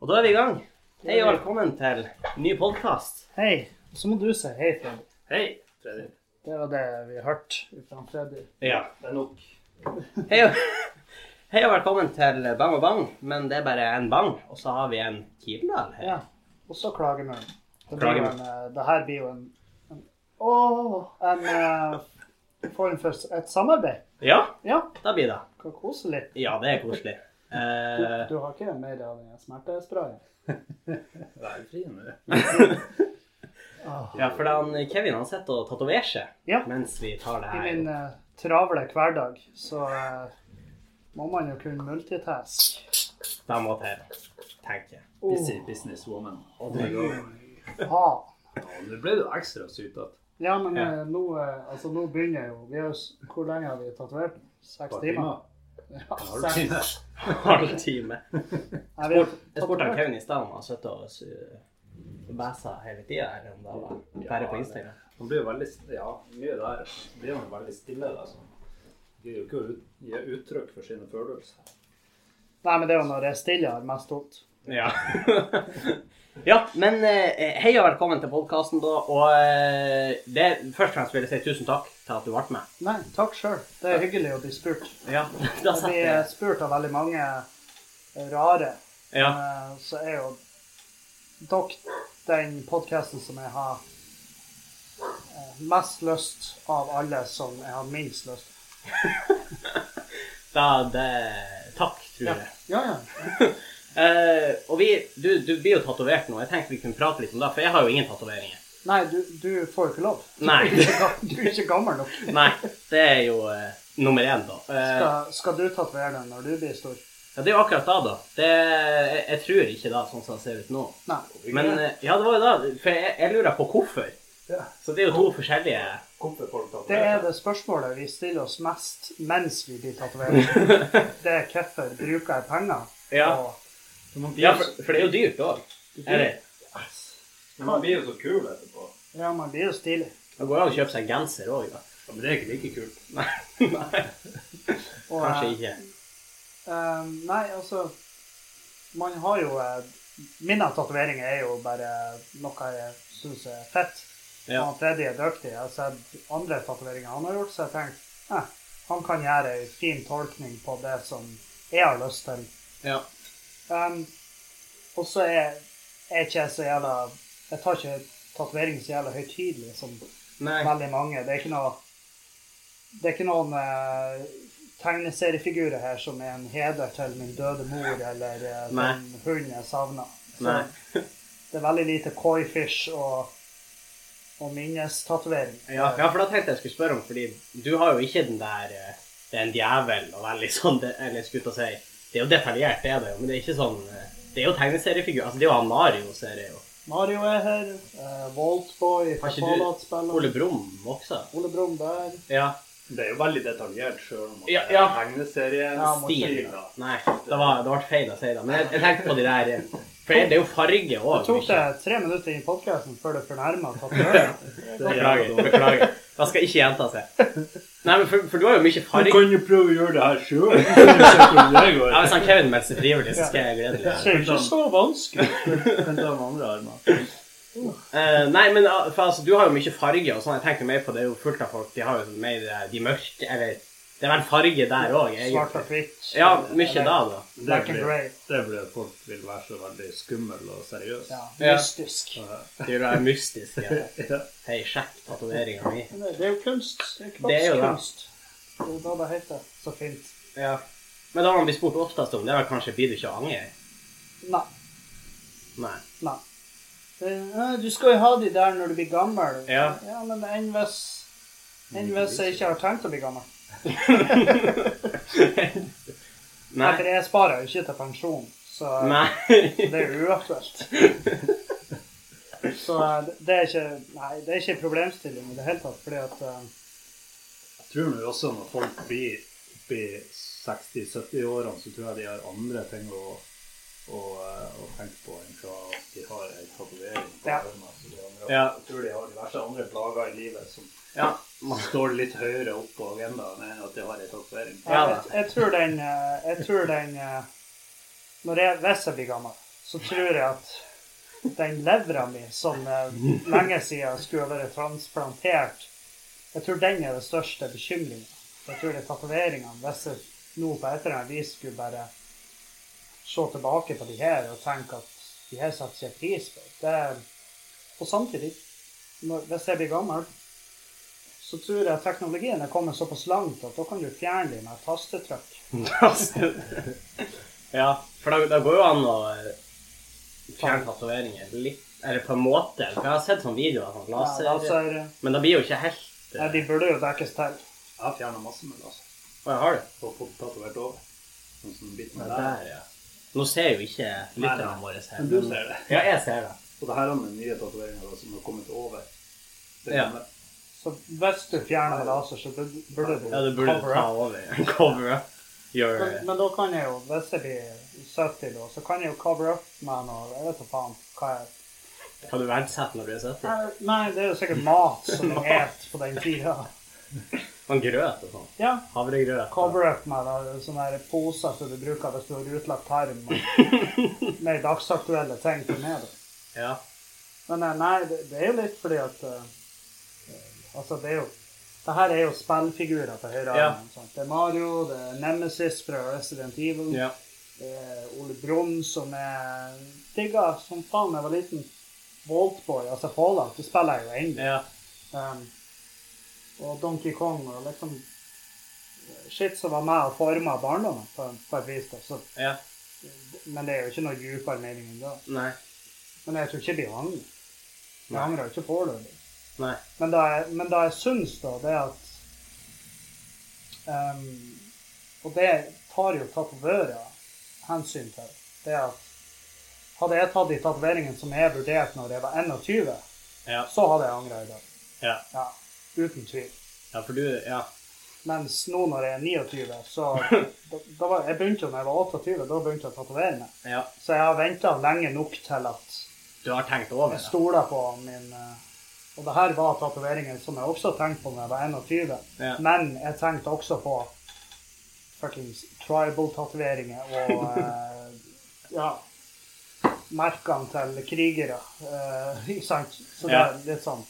Og da er vi i gang. Hei og velkommen til ny podkast. Hei. Så må du si hei, Freddy. Hei, Freddy. Det var det vi hørte fra Freddy. Ja, det er nok. Hei og, hei og velkommen til Bang og Bang, men det er bare en bang. Og så har vi en Kilendal her. Ja. Og så klagemuren. Det, blir jo Klagemuren. en, eh, det her blir jo en, en Å! En eh, form for s- et samarbeid. Ja, Ja, da blir det. kan kose litt. Ja, det er koselig. Du, Eh, du har ikke mer av den smertesprayen? Vær fri nå. Ah. ja, for han, Kevin han sitter og tatoverer seg Ja. mens vi tar det I her. min eh, travle hverdag så eh, må man jo kunne multitask. Da må til, tenker jeg. Busy businesswoman. Oh my God. Faen. Ja, Nå ble du ekstra sytete. Ja, men Ja. eh, nå, eh, altså, nå begynner jeg jo vi har, jo s- Hvor lenge har vi tatovert? Seks timer? Ja, seks. Halv time. Nei, vi har Spurt- Jeg spurte han tatovert. Kevin i stad om han satt og bæsa hele tida, eller om det var bare på Instagram. Han blir jo veldig st- Ja, mye der. Så blir han jo veldig stille. da, så han Gir jo ikke å ut, gi uttrykk for sine følelser. Nei, men det er jo når jeg er stille jeg har mest vondt. Ja. ja, men eh, hei og velkommen til podkasten, da. Og eh, det, først og fremst vil jeg si tusen takk til at du ble med. Nei, takk sjøl. Det er hyggelig å bli spurt. Ja, da Jeg setter blir eh, jeg. spurt av veldig mange eh, rare. Ja. Eh, Så er jo dere den podkasten som jeg har eh, mest lyst av alle, som jeg har minst lyst til. Da, det, takk, tror jeg. Ja, ja. Eh, og vi, du, du blir jo tatovert nå. Jeg tenkte vi kunne prate litt om det, for jeg har jo ingen tatoveringer. Nei, du, du får jo ikke lov. Nei. Du er ikke ga- du er ikke gammel nok. Nei, det er jo eh, nummer én, da. Eh, Skal, skal du tatovere den når du blir stor? ja, det er jo akkurat da, da. Det, jeg, jeg tror ikke det, sånn som det ser ut nå. Nei. Men eh, ja, det var jo da, for jeg, jeg lurer på hvorfor. Ja. Så det er jo to forskjellige Hvorfor folk tar Det er det spørsmålet vi stiller oss mest mens vi blir tatovert. Det er hvorfor bruker jeg penger? Ja. Og Ja, for, for det er jo dyrt òg. Eller Men man blir jo så kul etterpå. ja, man blir jo stilig. det går an å kjøpe seg genser òg, da. Ja, men det er ikke like kult. Nei, nei, Og, kanskje ikke. eh, eh, nei, altså Man har jo eh, Mine tatoveringer er jo bare noe jeg syns er fett. Ja. Han Freddy er dyktig. Jeg har sett andre tatoveringer han har gjort, så jeg tenkte eh, han kan gjøre ei fin tolkning på det som jeg har lyst til. Ja. Um, og så er, er ikke jeg så jævla Jeg tar ikke tatovering så jævla høytidelig som Nei. veldig mange. Det er ikke noe Det er ikke noen eh, tegneseriefigurer her som er en heder til min døde mor eller eh, Nei. den hunden jeg savna. Nei. Det er veldig lite koifish og, og minnestatovering. Ja, ja, for da tenkte jeg skulle spørre om, fordi du har jo ikke den der eh, Det er en djevel og veldig sånn det, Eller skulle jeg til å si Det er jo detaljert, det er det jo, men det er ikke sånn eh, Det er jo tegneseriefigur. Altså, det er jo han Mario, ser jeg jo. Mario er her. Uh, Voltboy fra Har ikke du- Fallout-spillet. Ole Brumm også. Ole Brumm der. Ja. Det er jo veldig detaljert sjøl om Ja, ja. Ja, må Stil. ikke- da. Nei, det var, det ble feil å si det. Men jeg, jeg tenkte på de der eh, For det er jo farge Det tok òg. deg tre minutter inn i podkasten før du fornærma tatoveringen. Beklager. beklager. Det skal ikke gjenta seg. Nei, men for, for du har jo mye farge. jo prøve å gjøre det her sjøl. Ja, Hvis han Kevin melder seg frivillig, så skal jeg glede meg. Det er ikke så vanskelig. Kan ta med andre armer. Eh, nei, men ah, for, altså, du har jo mye farge og sånn. Jeg tenker mer på det er jo fullt av folk. De har jo sånn mer eh, de mørke, eller Det er vel farge der òg, Svart og egentlig. hvitt. Ja, mye Eller da, da. Det Black and blir- grey. Det er fordi folk vil være så veldig skumle og seriøse. Ja, Ja. mystisk. Det er jo mystisk. Ja. Ja. Hei, sjekk tatoveringa mi. Men Det det er jo kunst. Det er Det er jo det. kroppskunst. Det er jo da det heter. Så fint. Ja. Men da man blir spurt oftest om, det er vel kanskje blir du ikke angre? Nei. Nei. Nei. Det, nei, du skal jo ha de der når du blir gammel. Ja. men enn hvis Enn hvis jeg ikke har tenkt å bli gammel? Nei. Nei. For jeg sparer jo ikke til pensjon, så Nei. det er jo uaktuelt. Så eh, det er ikke Nei, det er ikke en problemstilling i det hele tatt, fordi at eh, Jeg tror nå også når folk blir oppi 60-70-årene, så tror jeg de har andre ting å, å, eh, å tenke på enn hva de har ei tatovering på Ja. armen. som de andre har. Ja. Jeg tror de har diverse andre plager i livet som Ja. står litt høyere opp på agendaen enn at de har ei tatovering. Ja. Jeg, jeg tror den, eh, jeg tror den eh, når jeg, Hvis jeg blir gammel, så tror jeg at den levra mi, som eh, lenge siden skulle ha vært transplantert, jeg tror den er det største bekymringen. Jeg tror det er tatoveringene. Hvis jeg nå på et eller annet vis skulle bare se tilbake på de her og tenke at de her setter jeg pris på. Det, og samtidig, når, hvis jeg blir gammel, så tror jeg teknologien er kommet såpass langt at da kan du fjerne dem med et tastetrykk. ja, for da, da går jo an å eh, fjerne tatoveringer litt. Eller på en måte. For jeg har sett sånne videoer av sånn laser. Ja, laser Men da blir jo ikke helt ja, eh, de burde jo dekkes til. Jeg har fjerna masse med laser Å, jeg har det. og fått tatovert over. Sånn som biten Ja, er der. Der, ja. Nå ser jo ikke lytterne nei. våre her. Men du ser det. Ja, jeg ser det. Og det her er den nye tatoveringa som har kommet over. Det Ja. gamle. Så hvis du fjerner laser, så burde du Ja, du burde cover ta up. over. Cover up. Gjør Men, men da kan jeg jo, hvis jeg blir 70 da, så kan jeg jo cover up med noe Jeg vet da faen hva jeg Kan du verdsette når du er 70? Nei, Nei, det er jo sikkert mat som jeg et på den tida. Man grøt og sånn. Ja. Havregrøt. Cover up med da, sånne her poser sånn som du bruker hvis du har utlagt tarm. og Mer dagsaktuelle ting til med. det. Ja. Men eh, nei, det, det er jo litt fordi at eh, eh, Altså, det er jo det her er jo spillfigurer på høyre Ja. armen. sant? Det er Mario, det er Nemesis fra Resident Evil, ja. det er Ole Brumm som er digga som faen da jeg var liten. Voltboy, altså Fallout, det spiller jeg jo ennå. Ja. Um, og Donkey Kong og liksom eh, Shit som var med og forma barndommen på, på et vis. da. Så, Ja. men det er jo ikke noe dypere mening enn det. Nei. Men jeg tror ikke de angrer. De Nei. angrer ikke på det. Nei. Men det jeg, men det jeg syns, da, det er at um, Og det tar jo tatovører hensyn til. Det er at hadde jeg tatt de tatoveringene som jeg vurderte når jeg var 21, Ja. så hadde jeg angra i dag. Ja. Ja, uten tvil. ja, for du Ja. Mens nå når jeg er 29, så da, da var, Jeg begynte jo da jeg var 28, da begynte jeg å tatovere meg. ja. Så jeg har venta lenge nok til at Du har tenkt over jeg det? stoler på min eh, Og det her var tatoveringer som jeg også tenkte på da jeg var 21, Ja. men jeg tenkte også på fuckings tribal-tatoveringer og eh, ja merkene til krigere. eh, ikke sant? Så det er litt sånn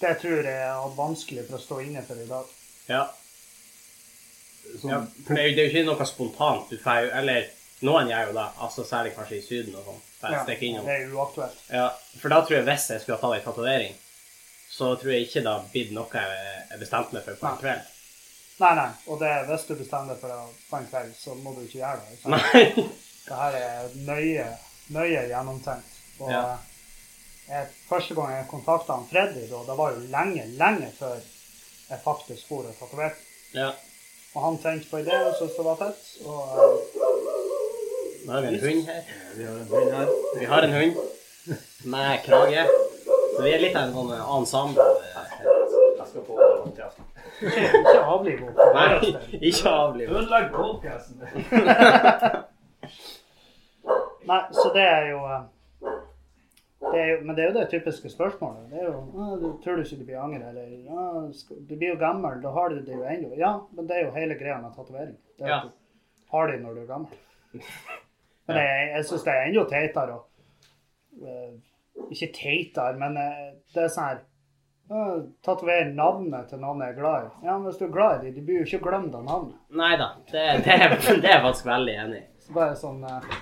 Det tror jeg jeg hadde vanskelig for å stå inne for i dag. Ja. Sånn, ja. For det er jo det er jo ikke noe spontant. Du får jo Eller noen gjør jo det, altså særlig kanskje i Syden og sånn. Får Ja, jeg stikke innom. det er uaktuelt. Ja, for da tror jeg hvis jeg skulle ha tatt en tatovering, så tror jeg ikke det hadde blitt noe jeg jeg bestemte meg for på en Nei. kveld. Nei, nei. Og det, hvis du bestemmer deg for å ta en kveld, så må du ikke gjøre det. ikke sant? Nei. Det her er nøye, nøye gjennomtenkt. Og Ja. jeg, første gang jeg kontakta Freddy, da, det var jo lenge, lenge før jeg faktisk for og tatoverte. Ja. Og han tenkte på ideen og syntes det var fett. Og eh, Nå har vi en hund her. Vi har en hund her. Vi har en hund med krage. Så vi er litt av en sånn ensemble. Jeg skal få podkasten. ikke, ikke avliv Nei, henne. ikke avliv. Ødelegg podkasten! Nei, så det er jo eh, det er jo, men det er jo det typiske spørsmålet. Det er jo, «Å, du, 'Tror du ikke du blir angre?' Eller «Å, skal, 'Du blir jo gammel, da har du det jo ennå'. Ja, men det er jo hele greia med tatovering. Det er jo Ja. at du Har de når du er gammel. Men jeg, jeg syns det er enda teitere å eh, Ikke teitere, men eh, det er sånn her «Å, Tatovere navnet til noen jeg er glad i. Ja, men hvis du er glad i dem, du blir jo ikke glemt av navnet. Nei da. Det, det, er- det er jeg faktisk veldig enig i. Så bare sånn eh,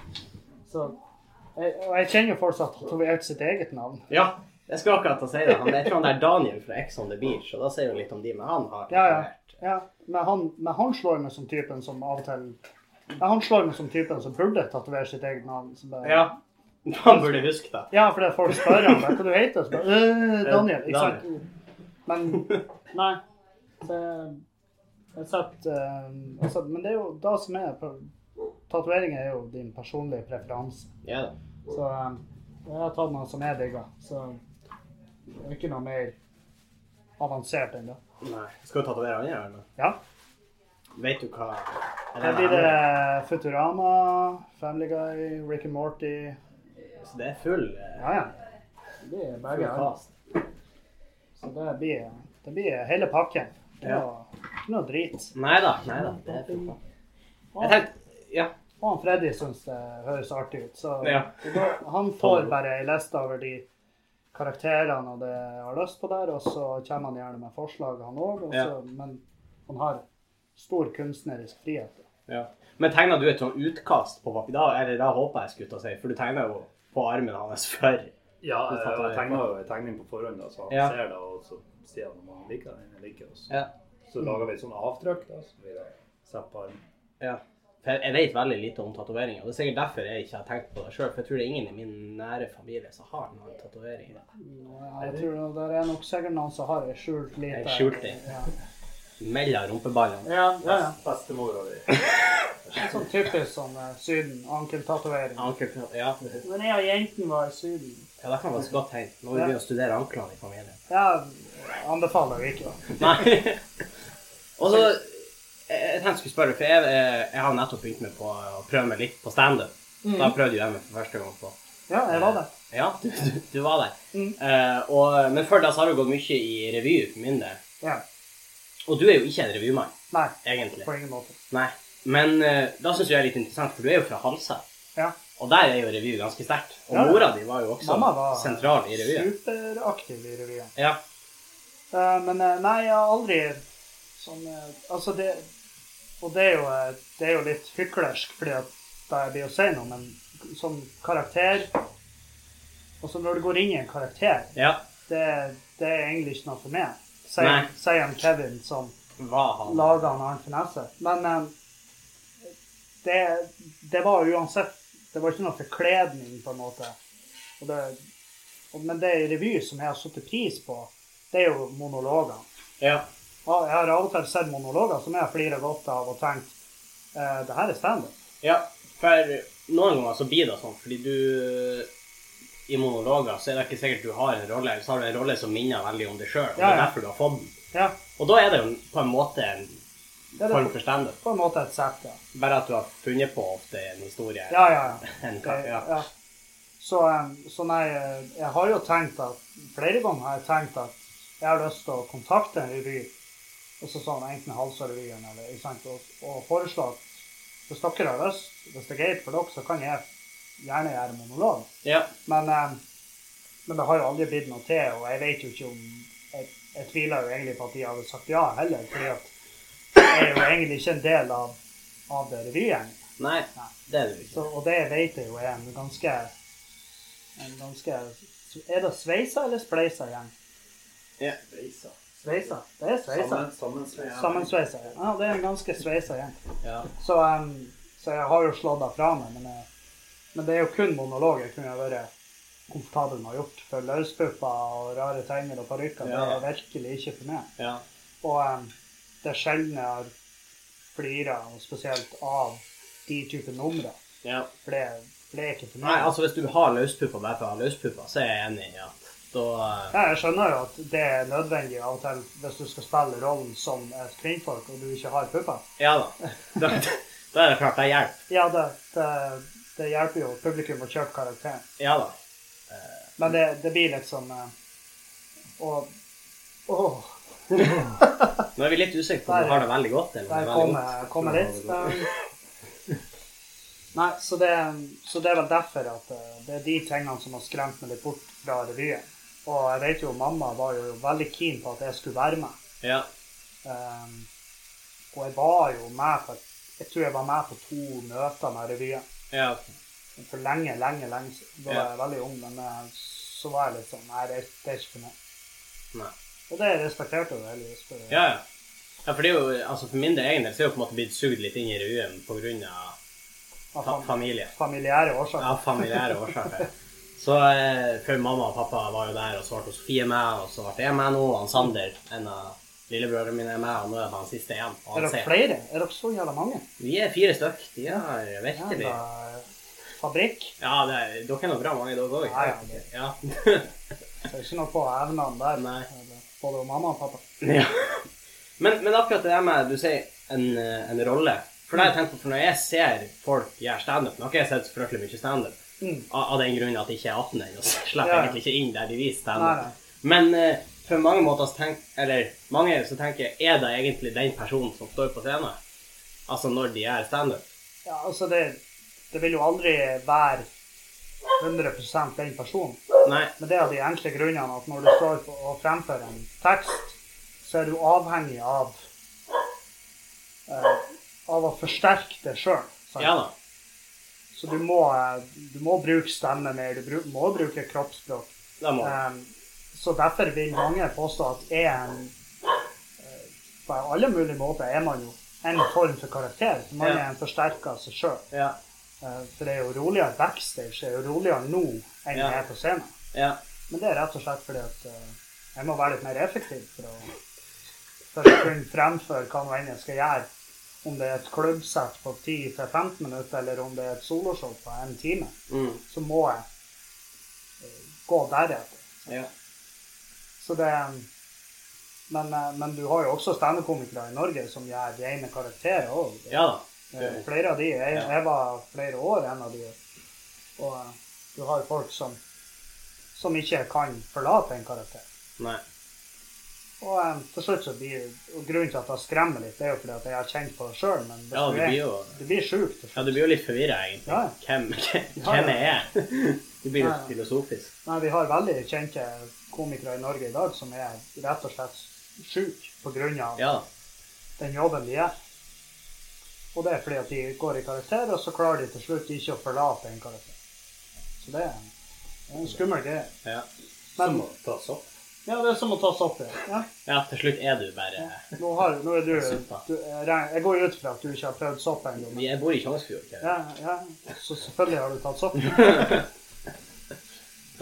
så, jeg, Og jeg kjenner jo folk som har tatovert sitt eget navn. Ja. Jeg skulle akkurat til å si det. Han, jeg tror han der Daniel fra Ex on the Beach, og da sier jo litt om de, men han har Ja, ja. ja. Men, han, men han slår meg som typen som av og til ja, Han slår meg som typen som burde tatovere sitt eget navn. Så bare, ja. Han burde huske det. ja, fordi folk spør ham hva du heter. Så bare, «Øh, Daniel. Ikke sant? Men nei. Det, jeg setter, eh, jeg setter, men det er jo det som er Tatoveringer er jo din personlige preferanse. Ja da. Så eh, jeg har tatt noe som jeg digger. Så det er ikke noe mer avansert enn det. Nei. Skal du tatovere han, eller? Ja. Vet du hva Her blir det Futurama, Family Guy, Rick and Morty. Så det er full eh, Ja, ja. Det blir begge. full her. cast. Så det blir, det blir hele pakken. Det Ja. var ikke noe drit. Nei da. Nei da. Det er full cast. Jeg tenkte Ja. Og han Freddy syns det høres artig ut. Så Ja. det går, han får bare ei liste over de karakterene og det jeg har lyst på der, og så kommer han gjerne med forslag, han òg. Ja. Men han har stor kunstnerisk frihet. Ja. Men tegna du et sånn utkast på papir? Da, eller da håper jeg skulle til å si, for du tegna jo på armen hans før. Ja, Du jeg, satte jeg deg tegner jo en tegning på forhånd, da, så han Ja. ser det, og så sier han om han liker den eller ikke. Og så, Ja. så lager vi et sånt avtrykk, da, så blir det satt på armen. Ja. For jeg vet veldig lite om tatoveringer. og Det er sikkert derfor jeg ikke har tenkt på det sjøl. For jeg tror det er ingen i min nære familie som har noen tatoveringer. Jeg tror det er nok sikkert noen som har ei skjult Ei lite skjult ei. Ja, Mellom rumpeballene. ja. ja, ja. Bestemora di. En sånn typisk sånn eh, Syden. Ankeltatovering. Ankel- Ja, Men jeg og jentene var i Syden. ja det kan være et godt tegn. Nå vil vi begynne å studere anklene i familien. Jeg anbefaler det ikke. da. Nei. Og så Jeg jeg tenkte jeg skulle spørre, for jeg, eh, jeg har nettopp begynt med på å prøve meg litt på standup. Da prøvde jo jeg meg for første gang på Ja, jeg var det. Ja, du, du, du var der. Mm. Eh, og, men før da så har du gått mye i revy for min del. Ja. Og du er jo ikke en revymann, Nei, egentlig. på ingen måte. Nei. Men eh, da syns jeg det er litt interessant, for du er jo fra Halsa. Ja. Og der er jo revy ganske sterkt. Og Ja. mora di var jo også Mamma var sentral i revyen. Superaktiv i revyen. Ja. Eh, Men eh, nei, jeg har aldri sånn eh, Altså, det Og det er jo, eh, det er jo litt hyklersk, fordi at da jeg blir å si noe, men sånn karakter Altså, når du går inn i en karakter, ja. det, det er egentlig ikke noe for meg. Sier Nei. sier han Kevin som Var han laga en annen finesse. Men eh, det, det var uansett Det var ikke noe forkledning, på en måte. Og det, og, men det i revy som jeg har satt pris på, det er jo monologene. Ja. Ja, Jeg har av og til sett monologer som jeg flirer godt av og tenkt eh, det her er standup. Ja, for noen ganger så blir det sånn, fordi du I monologer så er det ikke sikkert du har en rolle, eller så har du en rolle som minner veldig om deg sjøl, og det Ja, er ja. derfor du har fått den. Ja, Og da er det jo på en måte en det er form det for standup, på en måte et sett, ja. bare at du har funnet på ofte en historie. Ja, ja, ja. En, Det, ja. ja. Så, eh, så nei, eh, jeg har jo tenkt at flere ganger har jeg tenkt at jeg har lyst til å kontakte en revy, og så sånn enten Halsa-revyen eller ikke sant, og, og foreslå at hvis dere har lyst, hvis det er greit for dere, så kan jeg gjerne gjøre monolog. ja. Men, eh, men det har jo aldri blitt noe til, og jeg vet jo ikke om Jeg, jeg tviler jo egentlig på at de hadde sagt ja heller, fordi at jeg er jo egentlig ikke en del av, av det revygjengen. Nei, det er du ikke. Så, og det vet jeg jo er en ganske en ganske Er det sveisa eller spleisa igjen? Ja. Sveisa. Sveisa. Det er sveisa. Sammen- Sammensveisa. Sammensveisa. Ja. ja, det er en ganske sveisa igjen. Ja. Så, em, så jeg har jo slått det fra meg, men, jeg, men det er jo kun monolog jeg kunne vært komfortabel med å gjort. For løspupper og rare tegner og parykker, det Ja. er virkelig ikke for meg. ja. Og em, det er sjelden jeg har flira, og spesielt av de typer numre. ja. For det, for det er ikke for meg. Nei, altså hvis du har løspupper bare for å ha løspupper, så er jeg enig i at da Ja, jeg skjønner jo at det er nødvendig av og til hvis du skal spille rollen som et kvinnfolk og du ikke har pupper. eh, Ja da. Da, da er det klart det hjelper. Ja, det, det, det hjelper jo publikum å kjøpe karakteren. Ja da. Men det, det blir liksom eh, Og Åh, Nå er vi litt usikre på om du har det veldig godt eller om der det er veldig kom godt. jeg- kom jeg litt. Eh, Nei, så det, så det er vel derfor at eh, det er de tingene som har skremt meg litt bort fra revyen. Og jeg vet jo mamma var jo veldig keen på at jeg skulle være med. Ja. Ehm, og jeg var jo med på Jeg tror jeg var med på to møter med revyen. ja. ok. For lenge, lenge, lenge siden. Da var Ja. jeg veldig ung, men eh, så var jeg litt sånn Nei, det, det er ikke for meg. Nei. Og det respekterte jeg heldigvis. for- Ja, ja. Ja, for det er jo, altså for min del egen del så er jeg jo på en måte blitt sugd litt inn i revyen på grunn av Av fa fam- familie. familiære årsaker. Av familiære årsaker. Så eh, for mamma og pappa var jo der, og så ble Sofie med, og så ble jeg med nå, og han Sander, en av lillebrødrene mine, er med, og nå er det han siste igjen. og Er han dere ser. flere? Er dere så jævla mange? Vi er fire stykk. De har Ja, virkelig da, fabrikk. Ja, det er, dere er nå bra mange, dere òg. Ja, ja, det- Ja. Det er ikke noe på evnene der. Nei. Eller Både og mamma og pappa. Ja. Men, men akkurat det der med du sier en, eh, en rolle For det har jeg tenkt på, for når jeg ser folk gjøre standup Nå har ikke jeg sett så fryktelig mye standup Mm. av, av den grunn at jeg ikke er 18 ennå, så jeg slipper Ja, ja. egentlig ikke inn der de viser Nei, nei. standup. Men eh, for mange måter så tenk, eller mange så tenker jeg er det egentlig den personen som står på scenen? Altså når de gjør standup? Ja, altså det, det vil jo aldri være 100 den personen. Nei. Men det er av de enkle grunnene at når du står på og fremfører en tekst, så er du avhengig av eh, av å forsterke det sjøl. Ja da. Så du må, eh, du må bruke stemme mer, du bru- må bruke kroppsspråk. Da må Ehm, så derfor vil mange påstå at er en eh, På alle mulige måter er man jo en form for karakter. For man Ja. er en forsterker av seg sjøl. Ja. For det er jo roligere backstage, det er jo roligere nå enn Ja. det er på scenen. Ja. Men det er rett og slett fordi at eh, jeg må være litt mer effektiv for å, for å kunne fremføre hva nå enn jeg skal gjøre. Om det er et klubbsett på 10-15 minutter, eller om det er et soloshow på en time, Mm. så må jeg eh, gå deretter. Ja. Så det men, eh, men du har jo også standup-komikere i Norge som gjør rene karakterer òg. ja da. Eh, Flere av de. Jeg, Ja. jeg var flere år en av de. Og eh, du har jo folk som, som ikke kan forlate en karakter. Nei. Og eh, til slutt så blir og Grunnen til at det skremmer litt, det er jo fordi at jeg har kjent på det sjøl, men hvis Ja, du du er- blir jo du blir sjuk til Ja, slutt. du blir jo litt forvirra, egentlig. Ja. Hvem, hvem, Ja, ja. hvem er jeg? Du blir jo Ja, ja. filosofisk. Nei, vi har veldig kjente komikere i Norge i dag som er rett og slett sjuke pga. Ja da. den jobben de gjør. Og det er fordi at de går i karakter, og så klarer de til slutt ikke å forlate en karakter. Så det er en, det er en skummel greie. Ja. Som Men må tas opp. ja, det er som å tas opp i. Ja. ja, til slutt er du bare Nå, har, nå er du, Suppa. du jeg regner- Jeg går jo ut fra at du ikke har prøvd sopp ennå. men- Jeg bor i Tjongsfjord. ikke? Ja, ja, så selvfølgelig har du tatt sopp.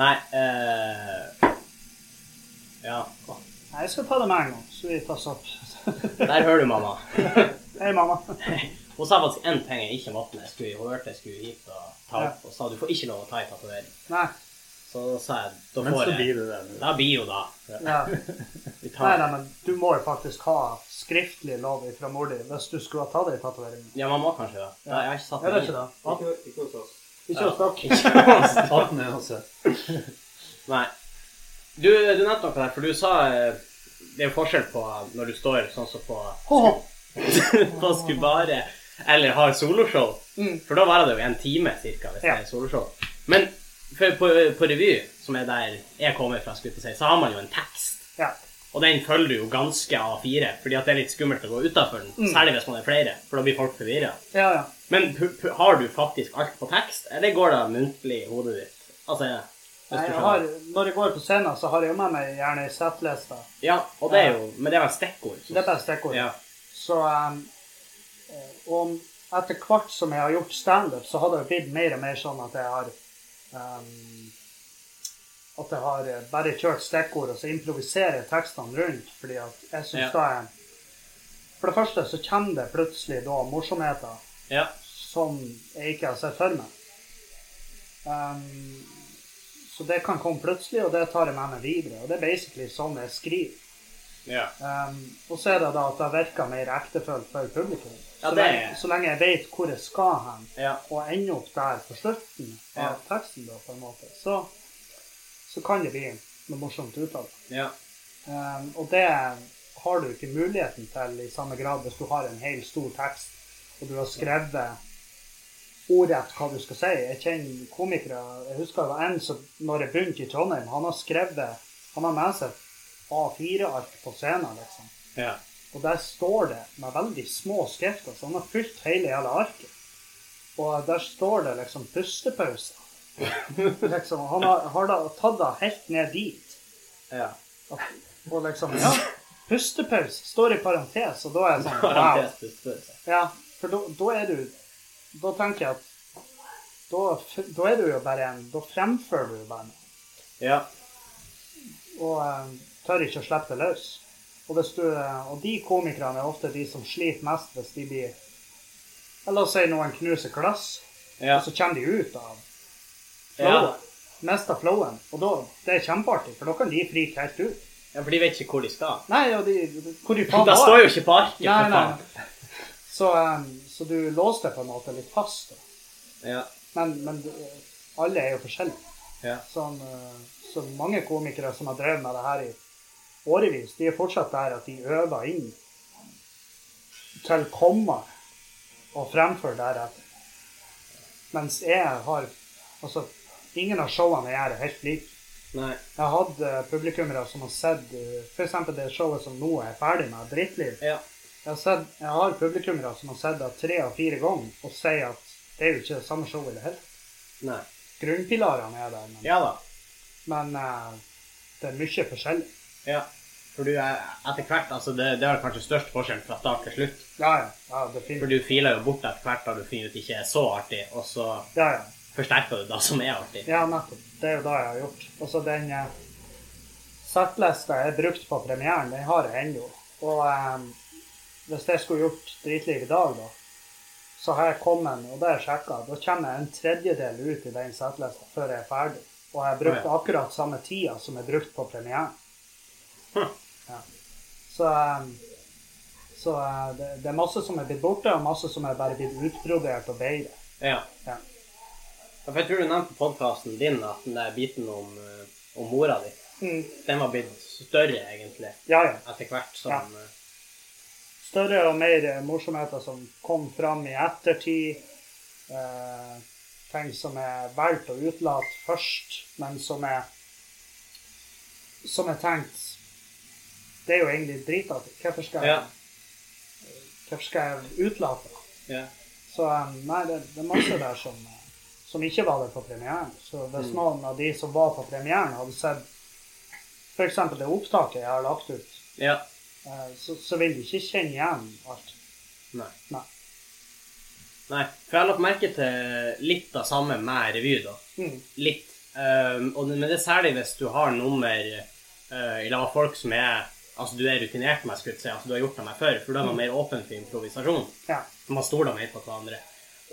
Nei eh, Ja. Å, Nei, jeg skal ta det med en gang, så vi tar sopp. Der hører du mamma. Hei, mamma. Hun sa faktisk én ting jeg ikke måtte når jeg skulle, hun hørte jeg skulle hit og ta opp, og sa du får ikke lov å ta i tatovering. Nei. Så da sa jeg da Men får så jeg. blir det det nå. Da blir jo da. Ja. Vi Nei, tar. nei, men du må jo faktisk ha skriftlig lov fra mor di hvis du skulle ha tatt deg tatovering. Ja, mamma kanskje da. Ja, jeg har ikke satt Er det ikke det? Ikke, ikke hos oss. Ikke hos dere. Ja. Staten er hos oss. Nei. Du, du nevnte noe der, for du sa eh, det er jo forskjell på når du står sånn som på, Ho, ho. på Skubare eller har soloshow. Mm. For da varer det jo en time cirka hvis Ja. det er soloshow. Men for, på, på revy, som er der jeg kommer fra, skulle jeg til å si, så har man jo en tekst. Ja. Og den følger du jo ganske A4, fordi at det er litt skummelt å gå utafor den. Mm. Særlig hvis man er flere, for da blir folk forvirra. Ja, ja. Men pu- pu- har du faktisk alt på tekst, eller går det muntlig i hodet ditt? Altså, hvis Nei, du jeg skjønner. har, når jeg går på scenen, så har jeg jo med meg gjerne ei settliste. Ja, og det er jo Men det er vel stikkord? så- Dette er stikkord. Ja. Så um, eh, om etter hvert som jeg har gjort standup, så har det jo blitt mer og mer sånn at jeg har um, At jeg har eh, bare kjørt stikkord, og så improviserer jeg tekstene rundt. Fordi at jeg syns Ja. det er For det første så kommer det plutselig da morsomheter ja. som jeg ikke har sett for meg. Ehm, så det kan komme plutselig, og det tar jeg med meg videre. Og det er basically sånn jeg skriver. Ja. Ehm, og så er det da at det virker mer ektefølt for publikum. Ja, så, det er- lenge, så lenge jeg vet hvor jeg skal hen, Ja. og ender opp der på slutten av teksten, da, på en måte, så, så kan det bli noe morsomt ut av det. ja. Ehm, og det har du ikke muligheten til i samme grad hvis du har en hel stor tekst og du har skrevet ordrett hva du skal si. Jeg kjenner komikere Jeg husker det var en som når jeg begynte i Trondheim, han har skrevet Han har med seg A4-ark på scenen, liksom. ja. Og der står det med veldig små skrifter, så han har fylt hele jævla arket. Og der står det liksom pustepauser. Liksom, han har, har da tatt det helt ned dit. ja. Og liksom Ja, pustepause står i parentes, og da er jeg sånn Wow. Parentes, pustepause. Ja, for da- da er du Da tenker jeg at da, f- da er du jo bare en Da fremfører du jo bare noe. Ja. Og eh, tør ikke å slippe det løs. Og, hvis du, eh, og de komikerne er ofte de som sliter mest hvis de blir eller La oss si noen knuser glass, Ja. og så kommer de ut av Ja. flowet. Mister flowen. Og da, det er kjempeartig, for da kan de frike helt ut. ja, for de vet ikke hvor de skal. Nei, og de, hvor de faen Da var. står jo ikke på arket, Nei, for nei. faen. nei. Så, em, så du låste på en måte litt fast. Da. Ja. Men, men eh, alle er jo forskjellige. Ja. Sånn, eh, så mange komikere som har drevet med det her i årevis, de er fortsatt der at de øver inn til komma og fremfører deretter. Mens jeg har Altså, ingen av showene jeg gjør, er helt like. Nei. Jeg har hatt eh, publikummere som har sett f.eks. det showet som nå er ferdig med, Drittliv. Ja. Jeg har, sett, jeg har publikummere som har sett det tre av fire ganger, og sier at det er jo ikke det samme showet i det hele tatt. Nei. Grunnpilarene er der, men, Ja da. men eh, det er mye forskjellig. Ja. For du er etter hvert Altså, det, det er kanskje størst forskjell fra start til slutt. Ja, ja. ja For definitivt. du filer jo bort etter hvert da du finner ut ikke er så artig, og så Ja, ja. forsterker du det som er artig. ja, nettopp. Det er jo det jeg har gjort. Og så den eh, settlista jeg brukte på premieren, den har jeg ennå. Og eh, hvis jeg skulle gjort Dritliv i dag, da, så har jeg kommet, og det har jeg sjekka, da kommer jeg en tredjedel ut i den settlista før jeg er ferdig. Og jeg har brukt Å, akkurat samme tida som jeg brukte på premieren. Hm. Ja. Så, eh, så eh, det, det er masse som er blitt borte, og masse som er bare blitt utbrodert og bedre. Ja. Ja. Ja, For jeg tror du nevnte på podkasten din at den der biten om, eh, om mora di, den var blitt større, egentlig, Ja, ja. etter hvert som Ja. eh, større og mer eh, morsomheter som kom fram i ettertid. Eh, ting som er valgt å utelate først, men som er som er tenkt Det er jo egentlig dritete. Hvorfor skal, jeg- Ja. hvorfor skal jeg utelate det? ja. Så eh, nei, det, det er masse der som, eh, som ikke var der på premieren. Så hvis noen av de som var på premieren, hadde sett f.eks. det opptaket jeg har lagt ut, Ja. eh, så, så vil de ikke kjenne igjen alt. Nei. Nei. Nei. For jeg har lagt merke til litt av samme med revy, da. Mm. Litt. Ehm, og det, men det er særlig hvis du har nummer eh, i lag med folk som er Altså, du er rutinert, med, skulle jeg si. Altså, du har gjort det med før. For da er Mm. man mer åpen for improvisasjon. Ja. Man stoler mer på hverandre.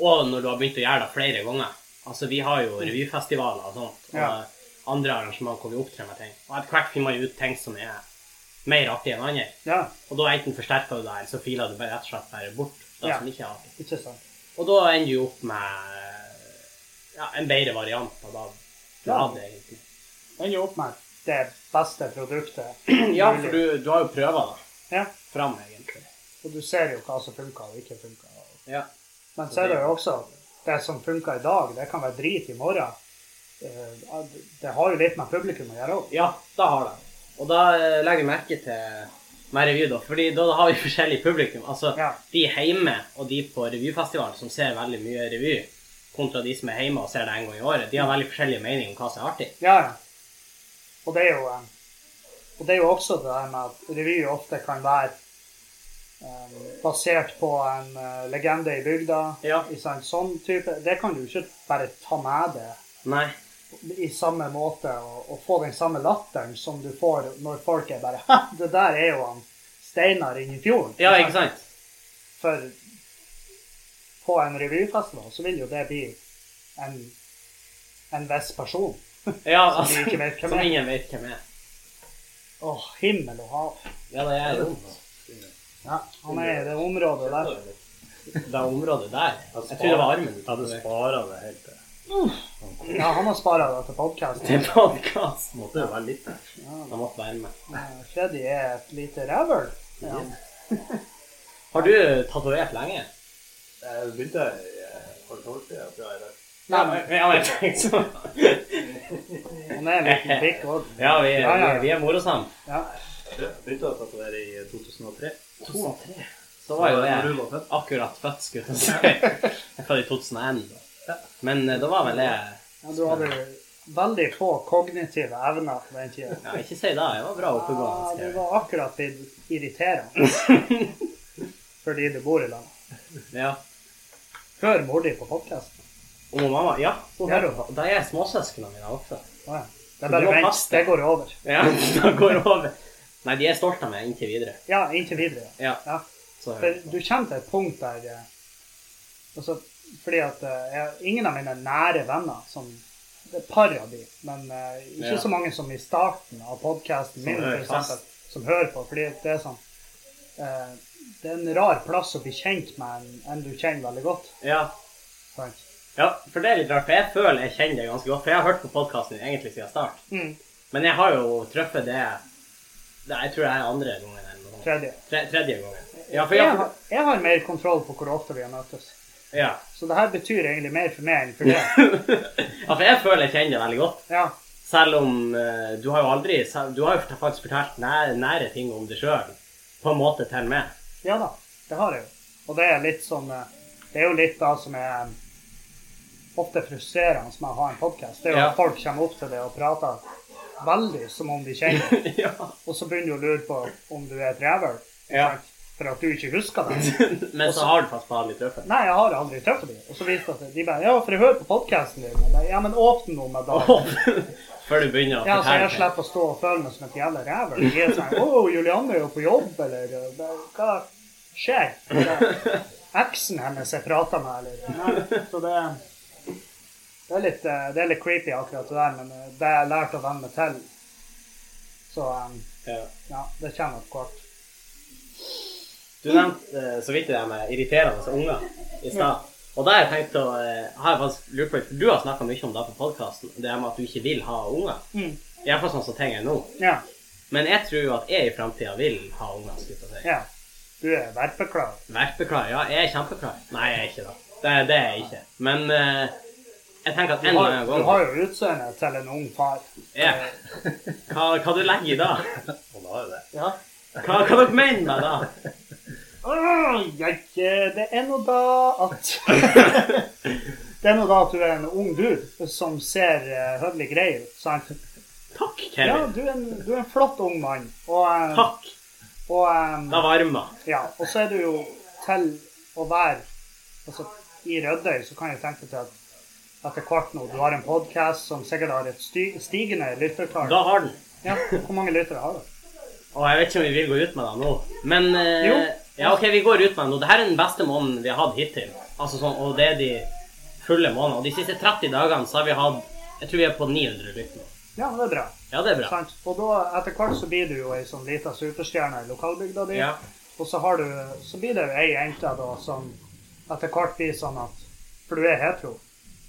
Og når du har begynt å gjøre det flere ganger. Altså, vi har jo revyfestivaler og sånt, og Ja. andre arrangement hvor vi opptrer med ting. Og etter hvert finner man jo ut ting som er mer artig enn andre. Ja, Og da enten forsterker du det, eller så filer du bare rett og slett bare bort det Ja. som ikke er artig. ikke sant. Og da ender du opp med ja, en bedre variant av det du Ja. hadde, egentlig. Den gjorde opp med det beste produktet. Ja, for du, du har jo prøva det Ja, fram, egentlig. og du ser jo hva som funker og ikke funker. Ja. Men så er det jo også det som funker i dag, det kan være drit i morgen. Eh, Det har jo litt med publikum å gjøre òg. ja, da har det. Og da eh, legger jeg merke til med revy, da. fordi da har vi forskjellig publikum. Altså Ja. de hjemme og de på revyfestivalen som ser veldig mye revy, kontra de som er hjemme og ser det en gang i året, de har veldig forskjellige meninger om hva som er artig. Ja, ja. Og det er jo eh, og det er jo også det der med at revy ofte kan være eh, basert på en eh, legende i bygda. Ja. Ikke sant? Sånn type. Det kan du ikke bare ta med deg Nei. i samme måte og, og få den samme latteren som du får når folk er bare «Ha, Det der er jo han Steinar inne i fjorden. Ja, ikke sant? For på en revyfestival så vil jo det bli en, en viss person. Ja, Som altså, vi ikke vet hvem som er. ingen vet hvem er. Å, himmel og hav. Ja, det er jo altså, Ja, han er i det området der. det området der. Jeg tror det var armen du Jeg hadde spara det helt til. Ja, han har spara det til podkasten. til podkast. Måtte jo være litt der. Jeg måtte være med. eh, Freddy er et lite rævøl. Ja. Har du tatovert lenge? Jeg begynte i eh, halv tolv-tida, tror jeg. Nei, men Ja, men jeg tenkte sånn. han er en liten pikk òg. Ja, vi, Ja, ja, ja. vi, vi er morosamme. Ja. Jeg begynte å tatovere i 2003. 2003. Så var jo Når jeg du var født. akkurat født, skulle jeg si. Jeg er født i 2001. da. Men eh, da var vel jeg Ja, du hadde veldig få kognitive evner på den tida. Ja, ikke si det. Jeg var bra Ja, oppegående. du skrev jeg. Ah, var akkurat blitt irriterende fordi du bor i landet. Ja. Hør mor di på podkasten. Og mamma Ja, hun Ja. hører på. Da er småsøsknene mine også. Det er bare må vent, passe det deg. går over. Ja, da går det over. Nei, de er stolte av meg inntil videre. Ja, inntil videre. Ja, Ja. så For du kommer til et punkt der eh, altså, Fordi at eh, jeg, ingen av mine nære venner som Det er par av de, men eh, ikke Ja. så mange som i starten av podkasten Som min, hører for eksempel, som hører på. Fordi at det er sånn eh, Det er en rar plass å bli kjent med en, en du kjenner veldig godt. Ja, Sant? Ja, for det er litt rart, for jeg føler jeg kjenner deg ganske godt. For jeg har hørt på podkasten din egentlig siden start. Mm. Men jeg har jo truffet det, det Jeg tror det er andre gangen eller noe sånt. Tredje. Tre, tredje gangen. Ja, for Jeg jeg, har, jeg har mer kontroll på hvor ofte vi har møttes. Ja. Så det her betyr egentlig mer for meg enn for deg. ja, for jeg føler jeg kjenner deg veldig godt. Ja. Selv om eh, du har jo aldri selv- Du har jo faktisk fortalt nære, nære ting om deg sjøl, på en måte til meg. Ja da, det har jeg jo. Og det er litt sånn eh, Det er jo litt da som er eh, ofte frustrerende med å ha en podkast. Det er jo Ja. at folk kommer opp til deg og prater veldig som om de kjenner deg. ja. Og så begynner du å lure på om du er et rævhøl Ja. sant? for at du ikke husker det. Men så har du faktisk bare litt røffere. Nei, jeg har aldri truffet dem. Og så viste det seg de bare Ja, for jeg hører på podkasten din. Jeg bare, ja, men åpne nå med da. Før du begynner å Ja, så fortelle. jeg slipper å stå og føle meg som et jævla rævel. De er sånn 'Å, Julianne er jo på jobb', eller eh, det- Hva skjer? Det- Eksen hennes jeg prater med, eller ja, Så det det er, litt, eh, det er litt creepy, akkurat det der, men eh, det har jeg lært å venne meg til. Så eh, Ja. ja, det kommer etter hvert. Du nevnte eh, så vidt det der med irriterende unger i stad. Og da har jeg tenkt å eh, har jeg faktisk lurt på, for Du har snakka mye om det på podkasten, det her med at du ikke vil ha unger. Mm. Iallfall sånn som ting er nå. Ja. Men jeg tror jo at jeg i framtida vil ha unger. skulle jeg til å si. ja. Du er verpeklar. Verpeklar? Ja, jeg er kjempeklar. Nei, jeg er ikke det. Det, det er jeg ikke. Men eh, jeg tenker at Du en eller har, annen du gang har jo utseendet til en ung far. ja. hva, hva du legger i det? Han har jo det. Ja. Hva, hva dere mener med det? Åh, jeg, det er nå da at Det er nå da at du er en ung dude som ser eh, høvelig grei ut. sant? Takk, Ja, Kevin. du er en, du er en flott ung mann. Og, eh, Takk. og, eh, Det varmer. ja, og så er du jo til å være altså, I Rødøy så kan jeg tenke til at etter hvert nå, du har en podkast som sikkert har et sty, stigende lyttertall. Da har den. Ja, hvor mange lyttere har du? Og jeg vet ikke om vi vil gå ut med deg nå, men eh, Jo. Ja, OK, vi går ut med deg nå. Dette er den beste måneden vi har hatt hittil. Altså sånn, Og det er de fulle månedene. Og de siste 30 dagene så har vi hatt Jeg tror vi er på 900 lytt nå. Ja, det er bra. Ja, det er bra. Sant? Og da, etter hvert så blir du jo ei sånn lita superstjerne i lokalbygda di. Ja. Og så, har du, så blir det jo ei jente da som etter hvert blir sånn at For du er hetero.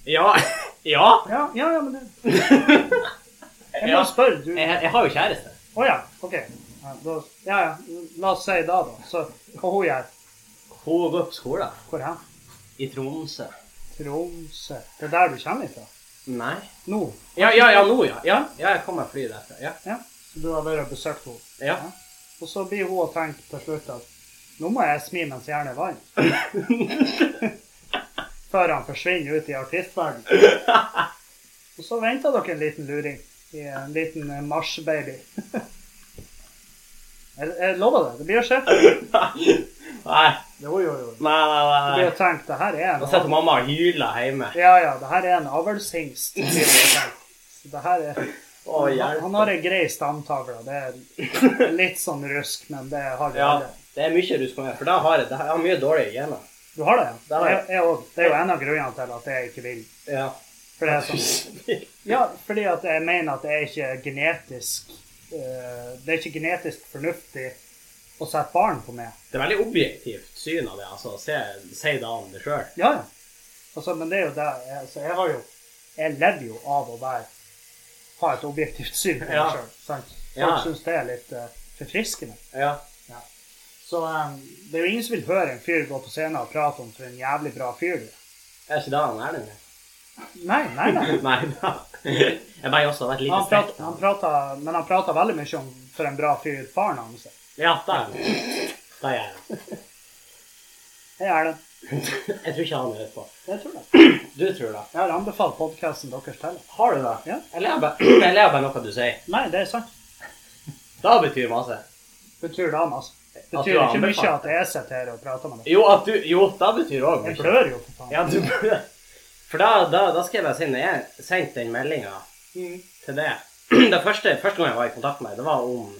Ja. ja. Ja, ja, ja men du Jeg Ja. må spørre, du. Jeg, jeg har jo kjæreste. Å ja, OK. Ja, da, ja, ja, la oss si da, da. Så hva hun gjør Hun går på skolen Hvor hen? i Tromsø. Tromsø. Det er der du kommer ifra? Nei. Nå? Ja, ja, ja, nå, ja. Ja, ja jeg kommer fly derfra. Ja. Ja. Så du har vært og besøkt henne? ja. Og så blir hun og tenker til slutt at nå må jeg smi mens hjernen er varm. Før han forsvinner ut i artistverdenen. Og så venter dere en liten luring. i En liten eh, marsjbaby. Jeg, jeg lover det. Det blir å skje. Nei, Jo, jo, jo. nei, nei. Det nei, blir nei. å tenke det her er Da en sitter mamma og hyler hjemme. Ja, ja, det her er en avlshingst. blir det å tenke. Så det her er Å, han, han hjelp. har ei grei stamtavle. Det er litt sånn rusk, men det har vi Ja, alle. det er mye rusk på meg, for da har jeg, da har jeg mye dårlige gener. Du har det? Det har jeg. jeg, jeg også. det er jo en av grunnene til at jeg ikke vil. Ja. For det er sånn, ja, fordi at jeg mener at det er ikke genetisk eh, Det er ikke genetisk fornuftig å sette barn på meg. Det er veldig objektivt syn av det. altså, Se, Si da om det sjøl. Ja, ja. Altså, men det er jo det jeg, altså, jeg har jo Jeg lever jo av å være ha et objektivt syn på meg Ja. selv, sant? Folk Ja. syns det er litt eh, forfriskende. Ja. Så eh, det er jo ingen som vil høre en fyr gå på scenen og prate om for en jævlig bra fyr du er. Er ikke det han Erlend er? Nei, nei, nei. Nei da. Jeg bare også har vært lite Han stekt. prater, han prater, men han prater veldig mye om for en bra fyr faren hans er. Ja, det er han. Det er han. Det er det. Jeg tror ikke han hører på. Jeg tror det. Du tror det. Jeg har anbefalt podkasten deres til. Har du det? Ja. Jeg ler bare, jeg ler bare noe du sier. Nei, det er sant. Det betyr masse. Betyr det, altså. At Betyr du har ikke mye anbefalt at jeg sitter her og prater med deg. Jo, at du, jo det betyr òg Jeg blør jo, for faen. Ja, du blør. For da, da, da skrev jeg siden jeg sendte den meldinga Mm. til det. Det første, første gang jeg var i kontakt med deg, det var om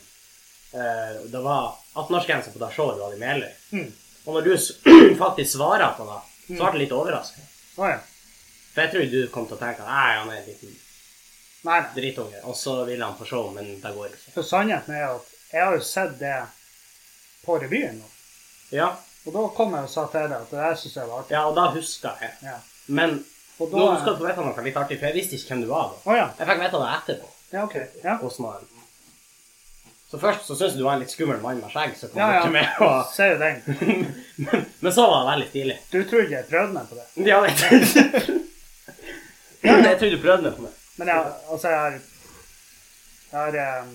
eh, Det var 18-årsgrense på det showet du hadde i Meløy. Mm. Og når du s- faktisk svarer på det, så ble jeg litt overraska. Å ja. For jeg tror du kom til å tenke at nei, han er en liten Nei, nei. drittunge, og så vil han på show, men det går ikke. For sannheten er at jeg har jo sett det på revyen nå. Ja, Og da kom jeg og sa til deg at det der syns jeg var artig. ja og da huska jeg. Ja. Men Og nå da skal du få vite noe litt artig, for jeg visste ikke hvem du var da. Å ja. Jeg fikk vite det etterpå. Ja, OK. Ja. Hvordan var han? Så først så syntes du var en litt skummel mann med skjegg som kom Ja, bort til meg. ja. Og, Ser jo den. men, men så var det veldig stilig. Du trodde jeg prøvde meg på det. Ja, jeg tror Ja, men jeg tror du prøvde det på meg. Men jeg, altså, jeg har, jeg har em,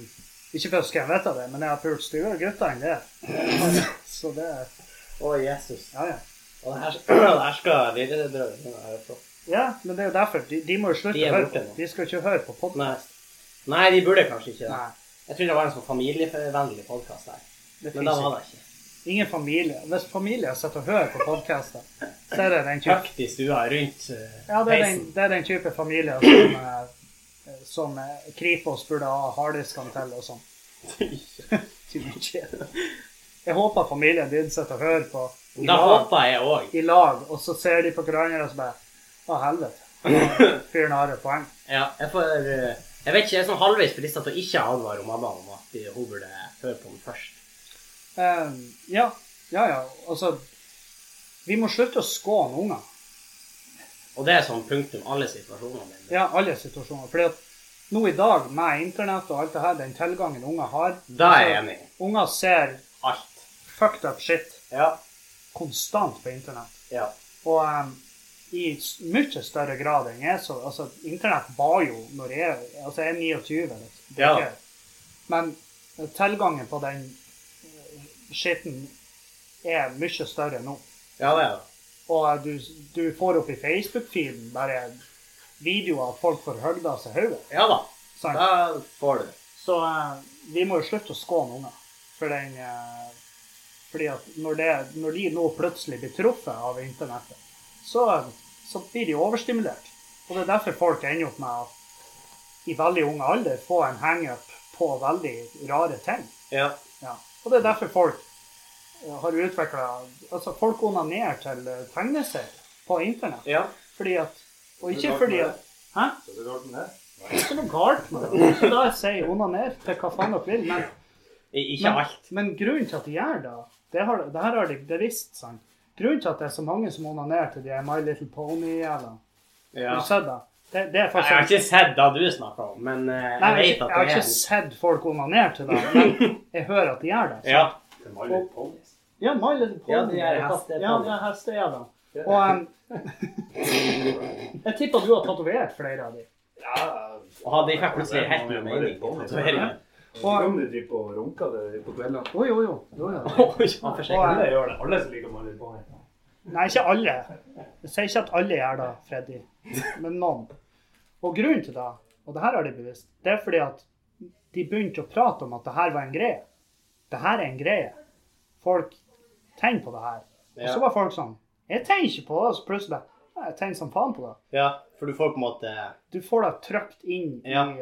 Ikke for å skrive vite det, men jeg har pult stua og gutta enn det. Så det Å, Jesus. Ja, ja. Og det her, det her skal lillebrødrene mine høre på. Ja, men det er jo derfor. De, de må jo slutte De er å høre borte på. nå. De skal ikke høre på podden. Nei. Nei, de burde kanskje ikke det. Nei. Jeg tror det var en sånn familievennlig podkast her. Men Det det finnes var det ikke. ikke. Ingen familie. Hvis familier sitter og hører på podkaster, så er det den type, Høyt i stua rundt eh, ja, det er den, peisen. det er den type familier som, eh, som eh, Kripos burde ha harddiskene til og sånn. Jeg håper familien din sitter og hører på i Da lag, håper jeg òg. i lag, og så ser de på hverandre og så bare Å, helvete. Fyren har et poeng. Ja, jeg får eh, Jeg vet ikke, jeg er sånn halvveis frista til å ikke advare mamma om at eh, hun burde høre på den først. Eh, ja, ja, ja. Altså Vi må slutte å skåne unger. Og det er sånn punktum alle situasjonene mine. Ja, alle situasjoner. Fordi at nå i dag, med internett og alt det her, den tilgangen unger har altså, Da er jeg enig. Unger ser Alt. fucked up shit Ja. konstant på internett. ja. Og em, i s- mye større grad enn jeg så Altså, internett var jo når jeg Altså, jeg er 29. Liksom. Det er Ja. ikke- Men eh, tilgangen på den eh, skitten er mye større nå. Ja, det er det. Og eh, du, du får opp i Facebook-feeden bare videoer av folk får høgda seg hodet. Ja da. sant? Da får du det. Så eh, vi må jo slutte å skåne unger. For den, eh, fordi at når, det, når de nå plutselig blir truffet av internettet, så, så blir de overstimulert. Og det er derfor folk ender opp med å i veldig ung alder få en hangup på veldig rare ting. Ja. Ja. Og det er derfor folk eh, har utvikla Altså, folk onanerer til eh, tegneserier på internett. ja. Fordi at Og Det er ikke rart fordi med at Hæ? Så det er rart med det. Det er ikke noe galt med det. Så da sier jeg onaner til hva faen dere vil. men I- Ikke men, alt. men grunnen til at de gjør det, det, har, det her har de det visst, sant? Grunnen til at det er så mange som onanerer til de er My Little Pony eller Ja. Har du sett det? Det, det er Jeg har faktisk... ikke sett det du snakker om, men eh, jeg Nei, jeg, vet har ikke- jeg at har det ikke er sett folk onanere til det, men jeg hører at de gjør det. sant? Ja. Det er veldig påvist. Ja, My Little Pony. Ja, de er hestepony. Ja, de er hestejævla. Og em, jeg tipper du har tatovert flere av dem. Ja, Og hadde jeg fikk plutselig helt ny mening på tatoveringen. Og, Om du driver på og runker det på kveldene. jo, jo, jo. jo, jo. Ja, for seg. Alle gjør det. Alle som liker Molly Pony. Nei, ikke alle. Jeg sier ikke at alle gjør det, Freddy, men noen. Og grunnen til det, og det her har de bevisst, det er fordi at de begynte å prate om at det her var en greie. Det her er en greie. Folk tenner på det her. Og så Ja. var folk sånn Jeg tenner ikke på det. Og så plutselig bare, «Nei, Jeg tenner som faen på det. ja, for du får på en måte Du får det trykt inn Ja. i,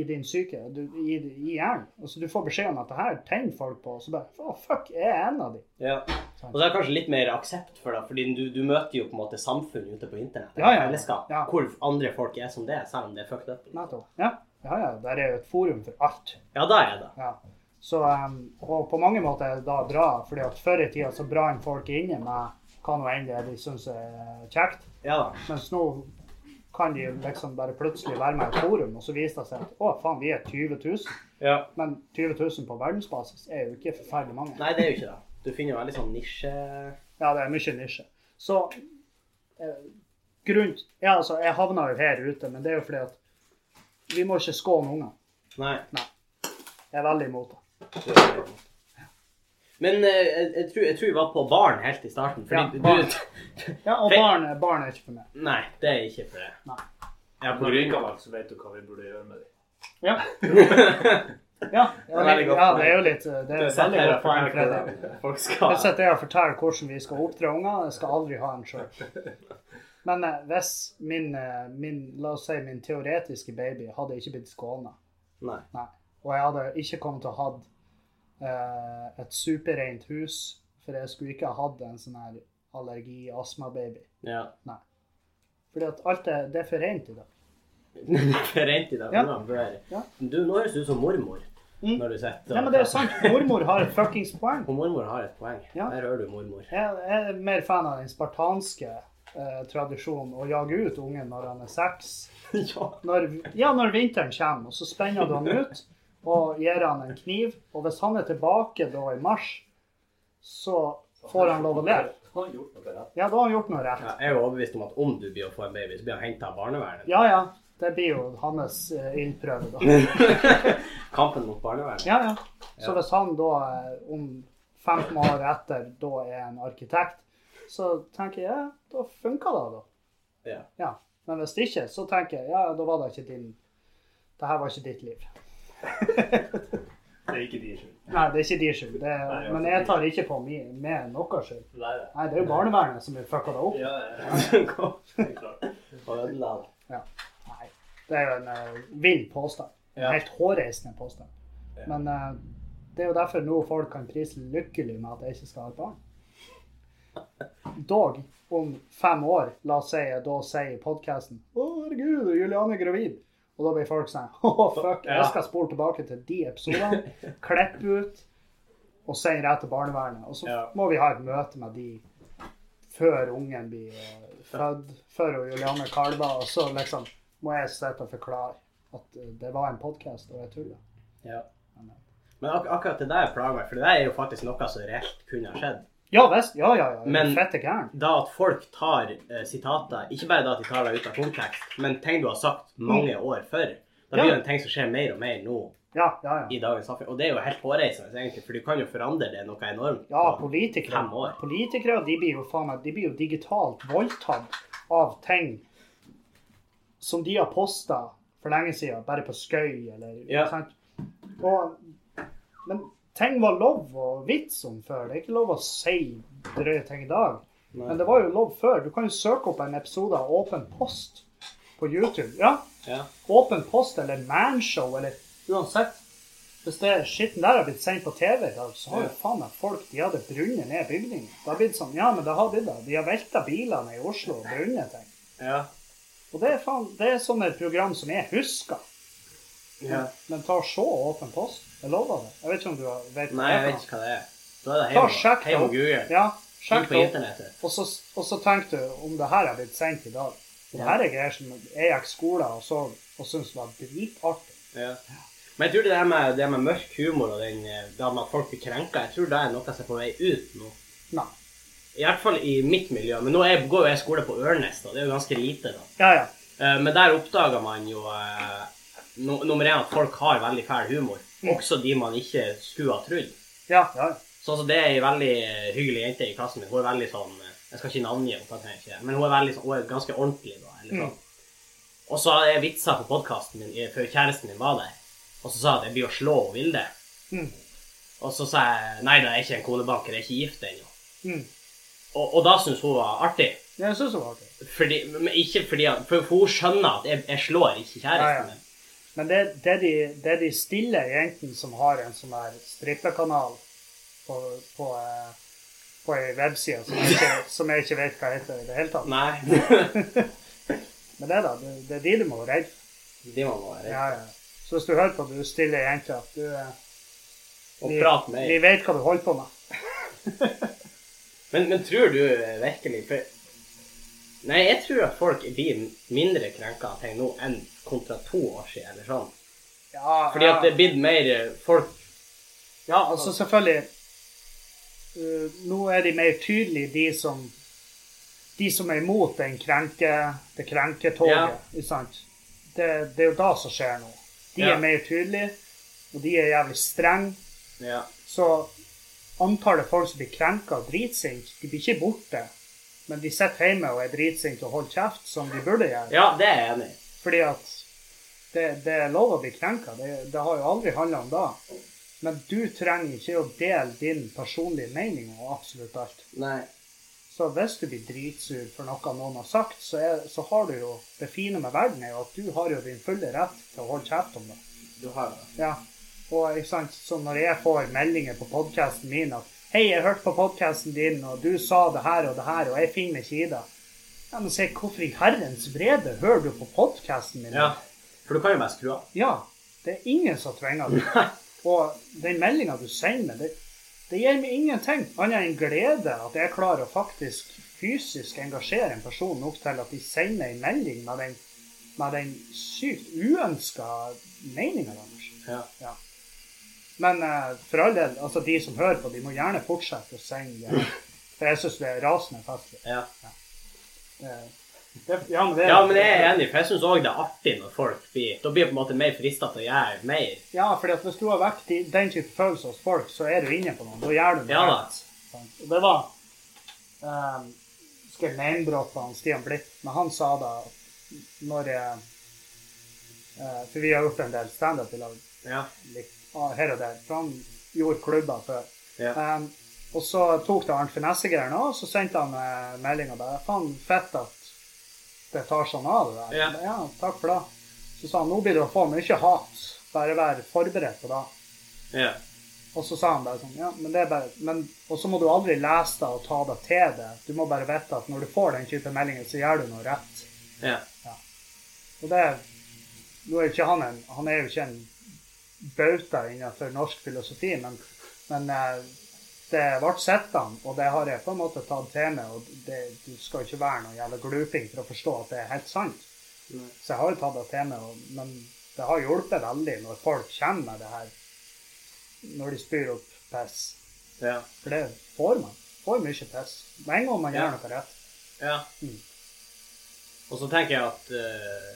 i din psyke, du, i, i hjernen. Og så du får beskjed om at det her tenner folk på. Og så bare Å, fuck, jeg er en av de. Ja. Sånn. Og så er det kanskje litt mer aksept for det, fordi du, du møter jo på en måte samfunn ute på internett. Ja, ja. Fellesskap, Ja. hvor andre folk er som det, selv om det er fucked up. Nettopp. Ja, ja, ja. Der er jo et forum for alt. Ja, da er det. Ja. Så, em, og på mange måter er det da bra, fordi at før i tida så brant folk inne med hva nå enn det er de syns er eh, kjekt. Ja da. Mens nå kan de liksom bare plutselig være med i et forum, og så viser det seg at å, faen, vi er 20 000. Ja. Men 20 000 på verdensbasis er jo ikke forferdelig mange. Nei, det er jo ikke det. Du finner jo veldig sånn nisje... Ja, det er mye nisje. Så eh, grunn Ja, altså, jeg havna jo her ute, men det er jo fordi at vi må ikke skåne unger. Nei. Jeg er veldig imot det. Men eh, jeg, jeg, tror, jeg tror vi var på barn helt i starten, fordi Ja, barn. du... Ja, og Fe- barn, barn er ikke for meg. Nei, det er ikke for det. Nei. Ja, Når på du grunn ryker vel, så vet du hva vi burde gjøre med dem. Ja. av... Ja, er veldig godt ja, poeng. det er jo litt eh, Det Du er har et sett veldig her godt poeng, at Fredrik. folk Jeg skal... sitter her og forteller hvordan vi skal oppdra unger. Jeg skal aldri ha en sjøl. Men eh, hvis min, eh, min la oss si min teoretiske baby hadde ikke blitt skåna, Nei. og jeg hadde ikke kommet til å ha eh, et superrent hus, for jeg skulle ikke ha hatt en sånn her allergi-astma-baby. Ja. Fordi at alt er, det er for rent i dag. Rent i dag. Ja. nå bør... Ja. Du, nå høres du ut som mormor Mm. når du sitter... Nei, men det er sant. Mormor har et fuckings poeng. Og mormor har et poeng. Ja. Der hører du mormor. Jeg jeg er mer fan av den spartanske eh, tradisjonen å jage ut ungen når han er seks. ja. Når, ja, når vinteren kommer, og så spenner du han ut. og gir han en kniv. Og hvis han er tilbake da i mars, så får han lov å leve. Han har gjort noe rett. Ja, da har han gjort noe rett. Ja, jeg er jo overbevist om at om du blir å få en baby, så blir han henta av barnevernet. Ja ja, det blir jo hans eh, ildprøve, da. Kampen mot barnevernet. Ja, ja. Så Ja. hvis han da eh, om 15 år etter da er en arkitekt, så tenker jeg ja, da funka det, da. Ja. Ja. Men hvis ikke, så tenker jeg ja, da var det ikke din Det her var ikke ditt liv. Det er ikke de skyld. Nei, det er ikke din skyld. Det, Nei, ja, men jeg tar ikke på mi, med noe skyld. Nei, nei. Nei, det er jo barnevernet som har fucka det opp. Ja, ja, helt klart. Og ødela det. Nei. Det er jo en eh, vill påstand. En Ja. Helt hårreisende påstand. Ja. Men eh, det er jo derfor nå folk kan prise lykkelig med at jeg ikke skal ha et barn. Dog, om fem år, la oss si jeg da sier i podkasten 'Å, herregud, Juliane er gravid'. Og da blir folk sånn Å, fuck, Ja. jeg skal spole tilbake til de episodene, klippe ut og sende rett til barnevernet. Og så Ja. må vi ha et møte med de før ungen blir eh, født, før hun Juliane kalver, og så liksom må jeg sitte og forklare at eh, det var en podkast, og jeg tulla. Ja. Men ak akkurat det der plager meg, for det der er jo faktisk noe som reelt kunne ha skjedd. Ja visst, ja ja, ja. Men- Men, fette gæren. Da at folk tar eh, sitater, ikke bare da at de tar det ut av kontekst, men ting du har sagt mange år før. Da blir Ja. det en ting som skjer mer og mer nå Ja, ja, ja. i dagens samfunn. Og det er jo helt hårreisende, egentlig, for du kan jo forandre det noe enormt. Ja, på politikere, Fem år. politikere de blir jo faen meg, de blir jo digitalt voldtatt av ting som de har posta for lenge siden, bare på skøy eller Ja. sant? Og, men ting var lov å vitse om før. Det er ikke lov å si drøye ting i dag. Nei. Men det var jo lov før. Du kan jo søke opp en episode av Åpen post på YouTube. Ja, Ja. Åpen post eller manshow eller uansett. Hvis det skitten der har blitt sendt på TV i dag, så har jo Ja. faen meg folk de hadde brunnet ned bygninger. Det har blitt sånn, ja, men det har blitt det. De har velta bilene i Oslo og brunnet ting. Ja. Og det er faen, det er sånne program som jeg husker. ja. Men ta og se Åpen post. Jeg lover det. Jeg vet ikke om du har- vet Nei, jeg vet ikke hva det er. Da er det hei Ta og sjekk på- hei på det. Google. Ja, Inn sjekk på det opp. internettet. Og så, og så tenkte du om det her er blitt sendt i dag. Det her er greier som jeg gikk skolen og så og syntes var dritartig. Ja. Men jeg tror det der med, det med mørk humor og den, eh, det med at folk blir krenka, jeg tror det er noe som er på vei ut nå. Nei. I hvert fall i mitt miljø. Men nå er, går jo jeg skole på Ørnes, da. Det er jo ganske lite, da. Ja, ja. Eh, Men der oppdager man jo eh, no, nummer én at folk har veldig fæl humor. Mm. Også de man ikke skulle ha trodd. Ja, ja. Sånn som det er ei veldig eh, hyggelig jente i klassen min. Hun er veldig sånn eh, Jeg skal ikke navngi henne, kan jeg ikke, men hun er, veldig, sånn- hun er ganske ordentlig. da, Mm. eller sånn. Og så hadde jeg vitser på podkasten min eh, før kjæresten min var der. Og så sa jeg at jeg blir å slå hun Vilde. Mm. Og så sa jeg nei, det er ikke en konebanker, jeg er ikke gift ennå. Mm. Og, og da syntes hun var artig. Jeg syns det var artig. Fordi, men ikke fordi at, for hun skjønner at jeg, jeg slår ikke Ja, ja. kjæresten min. Men det, det, er de, det er de stille jentene som har en sånn her strippekanal på, på, eh, på ei webside som jeg, ikke, som jeg ikke vet hva heter i det hele tatt. Nei. Men det, da, det, det er de du må være redd for. De må man være. Ja, ja. Så hvis du hører på du stille jenter at du eh, Og vi, prate med vi vet hva du holder på med. Men, men tror du eh, virkelig for... Nei, jeg tror at folk blir mindre krenka av ting nå enn kontra to år siden. eller sånn. Ja, Fordi at ja. det er blitt mer eh, folk Ja, altså selvfølgelig eh, Nå er de mer tydelige, de som de som er imot den krenke, det krenketoget. Ja. ikke sant? Det, det er jo det som skjer nå. De Ja. er mer tydelige, og de er jævlig strenge. ja. Så antallet folk som blir krenka og dritsinte, de blir ikke borte. Men de sitter hjemme og er dritsinte og holder kjeft, som de burde gjøre. ja, det er jeg enig i. Fordi at det, det er lov å bli krenka. Det, det har jo aldri handla om det. Men du trenger ikke å dele din personlige mening om absolutt alt. Nei. Så hvis du blir dritsur for noe noen har sagt, så, er, så har du jo Det fine med verden er jo at du har jo din fulle rett til å holde kjeft om det. Du har det. Ja. Og ikke sant, så når jeg får meldinger på podkasten min at Hei, jeg hørte på podkasten din, og du sa det her og det her, og jeg finner meg ikke i det. Ja, men se, hvorfor i herrens vrede hører du på podkasten min? Ja. For du kan jo bare skru av. Ja, det er ingen som tvinger deg. Og den meldinga du sender meg, det, det gir meg ingenting annet enn glede at jeg klarer å faktisk fysisk engasjere en person nok til at de sender meg en melding med den, med den sykt uønska meninga deres. Ja. Ja. Men eh, for all del, altså de som hører på, de må gjerne fortsette å sende. eh, For jeg syns det er rasende festlig. Ja. Eh, det, ja, men det ja, men jeg er enig, for jeg syns òg det er artig når folk blir Da blir jeg på en måte mer frista til å gjøre mer. Ja, fordi at hvis du har vekk de- den type følelser hos folk, så er du inne på noe. Da gjør du noe. Ja da. rett, sant? Og det var um, Skal jeg name-droppe han Stian Blipp? Men han sa da når jeg, eh, For vi har gjort en del standup i lag Ja. litt ah, her og der. For han gjorde klubber før. Ja. Um, og så tok det Arnt Finessegren òg, og så sendte han eh, melding og bare Faen, fett at det tar sånn av, det der. Ja. ja, takk for det. Så sa han nå blir det å få mye hat. Bare vær forberedt på det. ja. Og så sa han bare sånn Ja, men det er bare men, Og så må du aldri lese det og ta det til det. Du må bare vite at når du får den type meldinger, så gjør du noe rett. ja. Og det Nå er jo ikke han en Han er jo ikke en bauta innenfor norsk filosofi, men, men eh, det ble sett han, og det har jeg på en måte tatt til meg. Og det, du skal ikke være noe jævla gluping for å forstå at det er helt sant. Så jeg har jo tatt det til meg, og, men det har hjulpet veldig når folk kommer med det her. Når de spyr opp piss. ja. For det får man. Får mye piss. Med en gang man Ja. gjør noe rett. Ja. Mm. Og så tenker jeg at eh,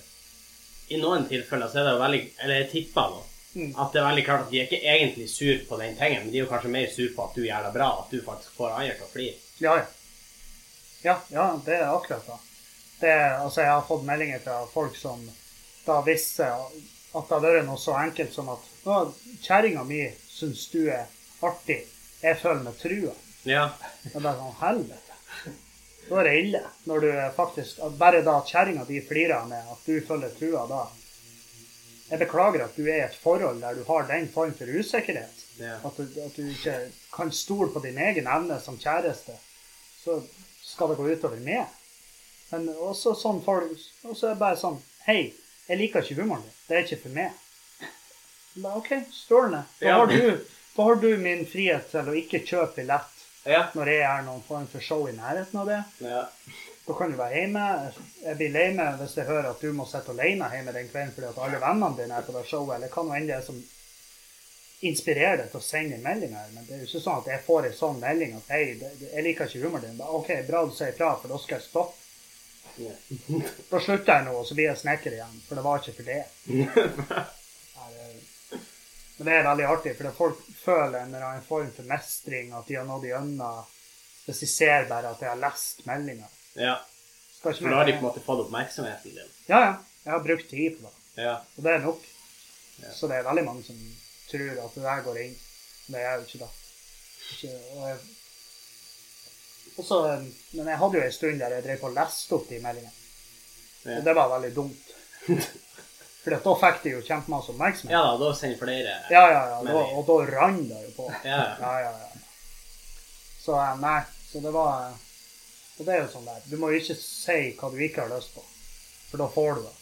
i noen tilfeller så er det jo veldig Eller jeg tipper nå Mm. at det er veldig klart at de er ikke egentlig sur på den tingen, men de er jo kanskje mer sur på at du gjør det bra, at du faktisk får andre til å flire. Ja, ja. Ja, ja, det er akkurat det. det er- altså, jeg har fått meldinger fra folk som da visste at det hadde vært noe så enkelt som at nå, kjerringa mi syns du er artig, jeg føler meg trua. Ja. Det er bare sånn helvete. Da er det ille. Når du faktisk at Bare da at kjerringa di flirer med at du føler trua, da Jeg beklager at du er i et forhold der du har den form for usikkerhet. ja. At du, at du ikke kan stole på din egen evne som kjæreste, så skal det gå utover meg. Men også sånn folk Og så er det bare sånn Hei, jeg liker ikke humoren din. Det er ikke for meg. Da, OK, strålende. Da Ja. har, du, da har du min frihet til å ikke kjøpe billett Ja. når jeg gjør noen form for show i nærheten av det. ja. Da kan du være hjemme. Jeg blir lei meg hvis jeg hører at du må sitte alene hjemme den kvelden fordi at alle vennene dine er på det showet, eller hva nå enn det er som inspirerer deg til å sende en melding her. Men det er jo ikke sånn at jeg får en sånn melding at hei, det- det- jeg liker ikke humoren din. Da, OK, bra du sier fra, for da skal jeg stoppe. Ja. Da slutter jeg nå, og så blir jeg snekker igjen, for det var ikke for det. Nei, det- Men det er veldig artig, for det folk føler en eller annen form for mestring, at de har nådd igjennom, hvis de ser bare at jeg har lest meldinga. ja. Skal ikke For da har de på en måte fått oppmerksomheten din. Ja, ja. Jeg har brukt tid på det. Ja. Og det er nok. Ja. Så det er veldig mange som tror at det der går inn. Men det gjør jo ikke det. Ikke, og jeg, også, men jeg hadde jo en stund der jeg drev på og leste opp de meldingene. Ja. Og det var veldig dumt. For da fikk de jo kjempemasse oppmerksomhet. ja da, da sender flere ja, ja. ja. Da, Meldinger. og da rant det jo på. Ja. Ja, ja, ja. Så eh, nei, så det var eh, Og det er jo sånn der. Du må jo ikke si hva du ikke har lyst på, for da får du det.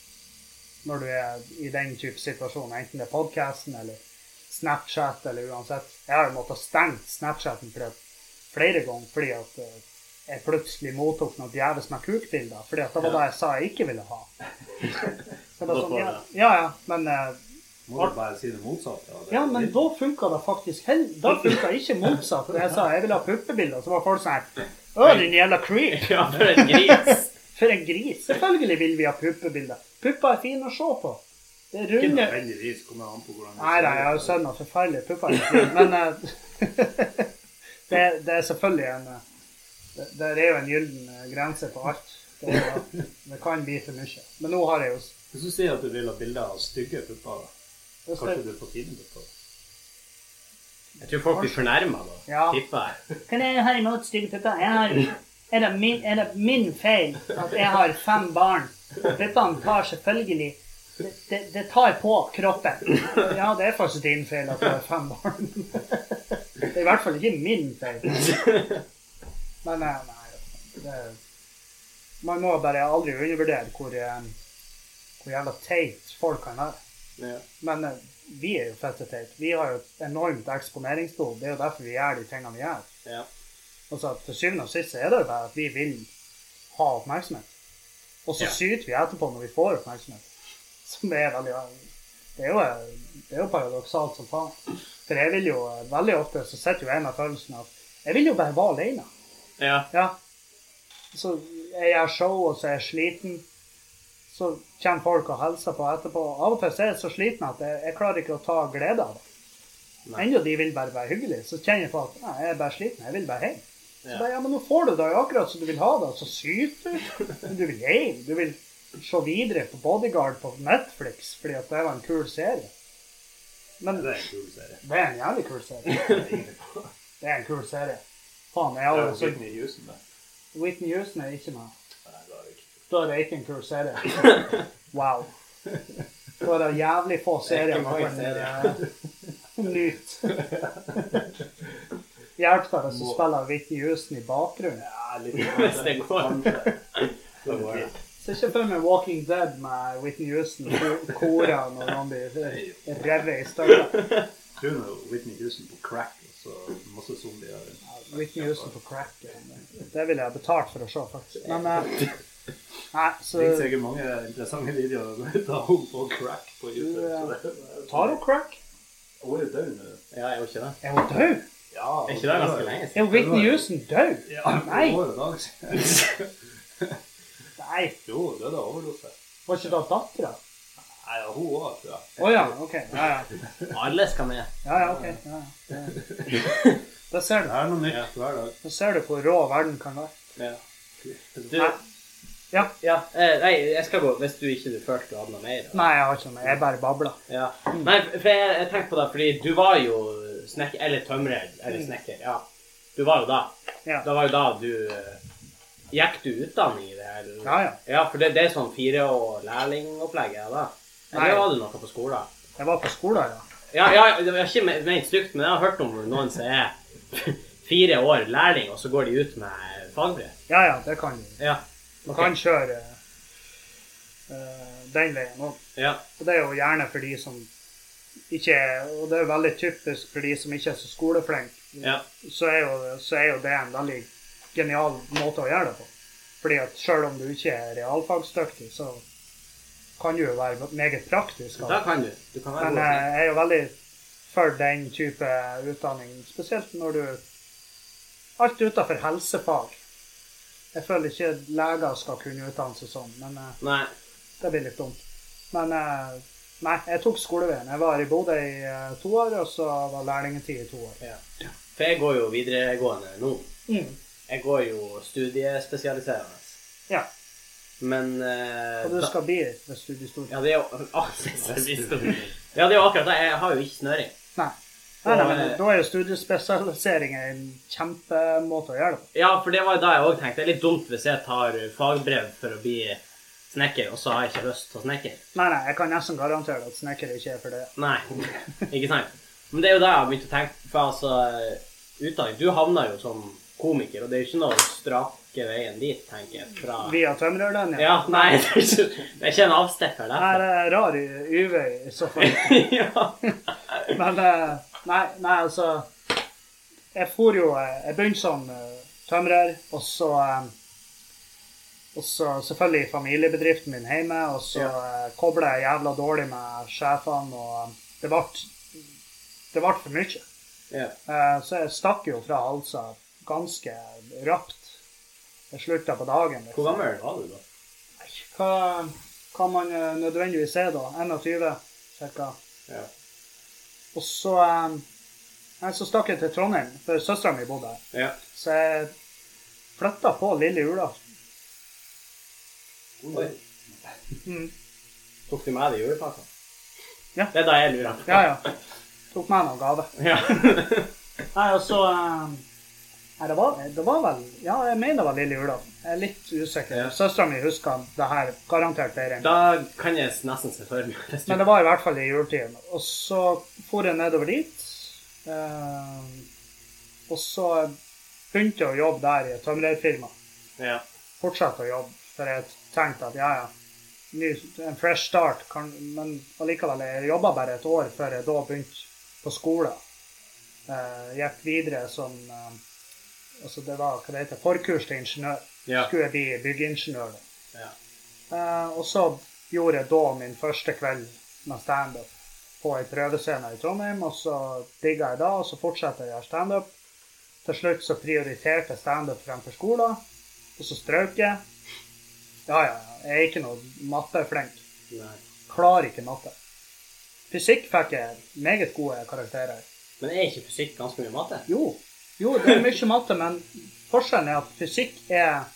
Når du er i den type situasjon, enten det er podkasten eller Snapchat eller uansett. Jeg har jo måttet stenge Snapchaten fordi at, flere ganger fordi at eh, jeg plutselig mottok noen djevelsk med kukbilder. fordi at det var Ja. det jeg sa jeg ikke ville ha. Så det Da er får sånn, ja, du ja, ja, men eh, Må du bare si det motsatte? av det? ja, men da funka det faktisk hell... Da funka ikke motsatt. når Jeg sa jeg ville ha puppebilder, så var folk sånn her Å, din jævla creep! ja, for en gris. For en gris! Selvfølgelig vil vi ha puppebilder. Pupper er fine å se på. Det er Ikke runde nødvendigvis kommer an på hvordan du Nei, altså, nei, jeg har jo sett noen forferdelige pupper. i mitt liv, Men eh, det, det er selvfølgelig en eh, det, det er jo en gyllen eh, grense på alt. Det, er jo- det kan bli for mye. Men nå har jeg jo s- Hvis du sier at du vil ha bilder av stygge pupper, da. kanskje du får fine pupper? Jeg tror folk blir fornærma da. Ja. Tipper jeg. Hva er det her imot stygge pupper? Jeg har, er, det min, er det min feil at jeg har fem barn? Puppene tar selvfølgelig det, det, det tar på kroppen. Ja, det er faktisk din feil at du har fem barn. Det er i hvert fall ikke min feil. Men eh, nei det, Man må bare aldri undervurdere hvor, eh, hvor jævla teit folk kan være. Ja. Men eh, vi er jo fette teit. Vi har jo et enormt eksponeringsbehov. Det er jo derfor vi gjør de tingene vi gjør. Ja. Altså at For syvende og sist så er det jo bare at vi vil ha oppmerksomhet. Og så Ja. syter vi etterpå når vi får oppmerksomhet. Som er veldig Det er jo, det er jo paradoksalt som faen. For jeg vil jo eh, veldig ofte så sitter jo jeg med følelsen av Jeg vil jo bare være alene. Ja. Ja. Så jeg gjør show, og så er jeg sliten. Så kommer folk og hilser på etterpå. Av og til så er jeg så sliten at jeg, jeg klarer ikke å ta glede av det. Nei. Enda de vil bare være hyggelige, så kjenner jeg på at nei, jeg er bare sliten, jeg vil bare hjem. Så Ja. bare, ja, men nå får du det jo akkurat som du vil ha det, og så syter du. Men du vil hjem. Du vil se videre på Bodyguard på Netflix, fordi at det var en kul serie. Men Det er en kul serie. det er en jævlig kul serie. Det er en kul serie. Faen, jeg har Ja, jo så Whitney Houston, da. Whitney Houston er ikke med. Nei, det er det ikke. Da er det ikke en kul serie. Wow. Da er det jævlig få serier ikke man mange kan serier. eh, nyte. Hjelp deg hvis du spiller Whitney Houston i bakgrunnen. Ja, litt Hvis det går. Det går, ja. Se ikke for meg Walking Dead med Whitney Houston ko- kora når noen blir revet i stykker. Tror nå Whitney Houston på crack, og så masse zombier rundt. Whitney Houston på crack. Det ville jeg betalt for å se, faktisk. Men eh, Nei, Det finnes så sikkert mange interessante videoer av henne på crack på YouTube. Ja. så det- Tar hun crack? Hun er jo død nå. Ja, jeg gjorde ikke det. Er hun død? Ja, Er ikke det ganske lenge siden? Er Whitney Houston død? Ja, Nei. det var jo dag siden. Nei, Jo, hun døde av overdose. var ikke det dattera? Nei, ja, hun òg, tror jeg. Å ja, OK. Ja ja. Alle skal med. ja, ja, ok. Ja, ja. Da ser Det du. er noe nytt hver dag. Da ser du hvor rå verden kan være. Ja. Du, Nei. Ja. ja, eh, nei, jeg skal gå hvis du ikke du følte du hadde noe mer. da. Nei, jeg har ikke noe. Jeg bare babler. Ja. Nei, for jeg, jeg tenkte på det, fordi du var jo snekker, eller tømrer, eller Mm. snekker, ja. Du var jo da. Ja. Det var jo da du eh, Gikk du utdanning i det? her? Ja, ja. for det, det er sånn fire- og lærlingopplegget, da? Eller Nei. var det noe på skolen? Jeg var på skolen, ja. Ja, ja, det var ikke me- ment stygt, men jeg har hørt om noen som er fire år lærling, og så går de ut med fagbrev. Ja ja, det kan du. Ja. Du kan kjøre eh, den veien òg. Ja. Og det er jo gjerne for de som ikke er Og det er jo veldig typisk for de som ikke er så skoleflinke. Ja. så er, jo, så er jo det en veldig genial måte å gjøre det på. Fordi at selv om du ikke er realfagsdyktig, så kan du jo være meget praktisk. Da av det. kan du. Du kan være Men god. eh, snekker. jeg er jo veldig for den type utdanning, spesielt når du Alt utenfor helsefag. Jeg føler ikke leger skal kunne utdanne seg sånn, men eh, Nei. det blir litt dumt. Men eh, nei, jeg tok skoleveien. Jeg var i Bodø i eh, to år, og så var lærlingetid i to år. Ja. For jeg går jo videregående nå. Mm. Jeg går jo studiespesialiserende. Ja. Men eh, Og du da- skal bli hvis du blir stor. Ja, det er jo Ah, jeg visste det. Ja, det er jo akkurat det. Jeg har jo ikke snøring. Nei. Nei, nei, men Og, eh, Da er jo studiespesialisering en kjempemåte å gjøre det på. Ja, for det var jo da jeg òg tenkte. Det er litt dumt hvis jeg tar fagbrev for å bli snekker, og så har jeg ikke lyst til å snekker. Nei, nei, jeg kan nesten garantere at snekker ikke er for det. Nei, ikke sant? Men det er jo det jeg har begynt å tenke For altså, utdanning Du havna jo som komiker, og det er jo ikke noe strake veien dit, tenker jeg. Fra Via tømrerlinja. Ja, nei, det er ikke, det er ikke en avstikker Nei, der. det er rar y- uvei i så fall. ja. Men eh, nei, nei, altså Jeg for jo eh, Jeg begynte som eh, tømrer, og så eh, Og så selvfølgelig i familiebedriften min hjemme, og så ja. kobla jeg jævla dårlig med sjefene, og eh, det ble Det ble for mye. Ja. Eh, Så jeg stakk jo fra halsa ganske rapt. Jeg slutta på dagen. Hvor Liksom. gammel var du da? Nei, Hva, hva man eh, nødvendigvis er da? 21, cirka. Ja. Og så, eh, nei, så stakk jeg til Trondheim, for søstera mi bodde her. Ja. Så jeg flytta på lille julaften. Oi. Mm. Tok du med deg julepakka? Ja. altså? Det er da jeg lurer. Ja, ja. Tok med noen gave. Ja. Nei, og så eh, Nei, det var, det var vel Ja, jeg mener det var lille julaften. Jeg er litt usikker. Ja. Søstera mi husker det her garantert bedre enn Da kan jeg nesten se for meg hvis du- Men det var i hvert fall i juletiden. Og så for jeg nedover dit. eh, og så begynte jeg å jobbe der i et tømrerfirma. Ja. Fortsatte å jobbe, for jeg tenkte at ja, ja, ny, en fresh start. Kan, men allikevel, jeg jobba bare et år før jeg da begynte på skolen. Eh, gikk videre som eh, altså Det var hva det heter, forkurs til ingeniør. Ja. Skulle jeg bli byggeingeniør. da. Ja. Eh, og så gjorde jeg da min første kveld med standup. på ei prøvescene i Trondheim, og så digga jeg da, og så fortsatte jeg å gjøre standup. Til slutt så prioriterte jeg standup fremfor skolen, og så strøk jeg. Ja, ja, ja, jeg er ikke noe matteflink. Nei. Klarer ikke matte. Fysikk fikk jeg meget gode karakterer i. Men er ikke fysikk ganske mye matte? Jo. jo, det er mye matte, men forskjellen er at fysikk er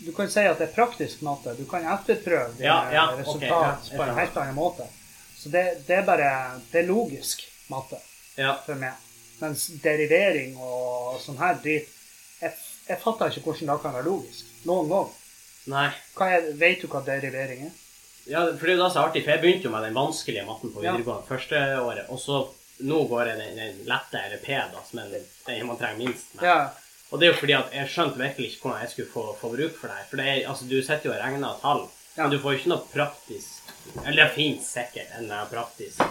Du kan si at det er praktisk matte. Du kan etterprøve dine Ja, ja, ok, ja, resultat jeg på en skjønner. helt annen måte. Så det, det er bare Det er logisk matte Ja. for meg. Mens derivering og sånn her drit jeg, jeg fatter ikke hvordan det kan være logisk. Noen gang. Nei. Hva er, vet du hva derivering er? Ja, for det er jo da så artig, for jeg begynte jo med den vanskelige matten på Ja. videregående første året, og så nå går jeg den, den lette, eller P, da, som er den, den man trenger minst med. Ja, Og det er jo fordi at jeg skjønte virkelig ikke hvordan jeg skulle få, få bruk for det her. For det er, altså, du sitter jo og regner tall, Ja. men du får jo ikke noe praktisk Eller det finnes sikkert en eh, eller annen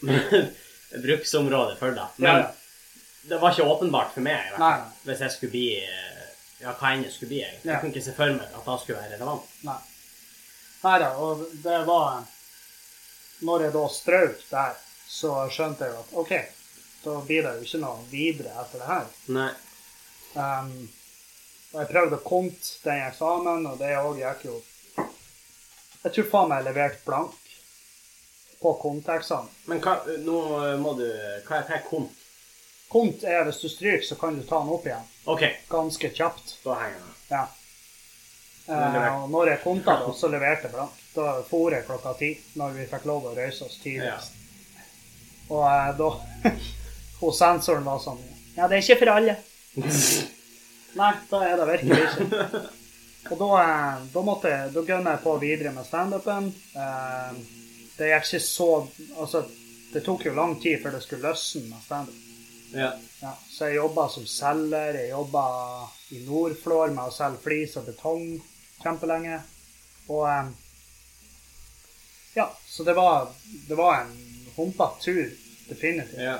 praktisk bruksområde for det. Men ja, ja. det var ikke åpenbart for meg i hvert fall, Nei. hvis jeg skulle bli eh, Ja, hva enn jeg skulle bli. egentlig. Ja. Jeg kunne ikke se for meg at det skulle være relevant. Nei. Nei da, og det var Når jeg da strøk der, så skjønte jeg jo at OK, da blir det jo ikke noe videre etter det her. Nei. Ehm, og jeg prøvde å komme den eksamen, og det òg gikk jo Jeg tror faen meg jeg leverte blank på konteksamen. Men hva, nå eh, må du Hva er per kont? Kont er hvis du stryker, så kan du ta den opp igjen OK, ganske kjapt. da henger jeg. Ja. Men det Eh, og når jeg konta det, så leverte jeg blank. Da for jeg klokka ti, når vi fikk lov å reise oss tidligst. Og eh, da Hun sensoren var sånn Ja, det er ikke for alle. Nei, da er det virkelig ikke. Og da, eh, da måtte jeg Da gønna jeg på videre med standupen. Eh, det gikk ikke så Altså, det tok jo lang tid før det skulle løsne med standup. Ja. Ja, så jeg jobba som selger, jeg jobba i Nordflor med å selge flis og betong kjempelenge. Og em, ja, så det var, det var en humpete tur, definitivt. ja.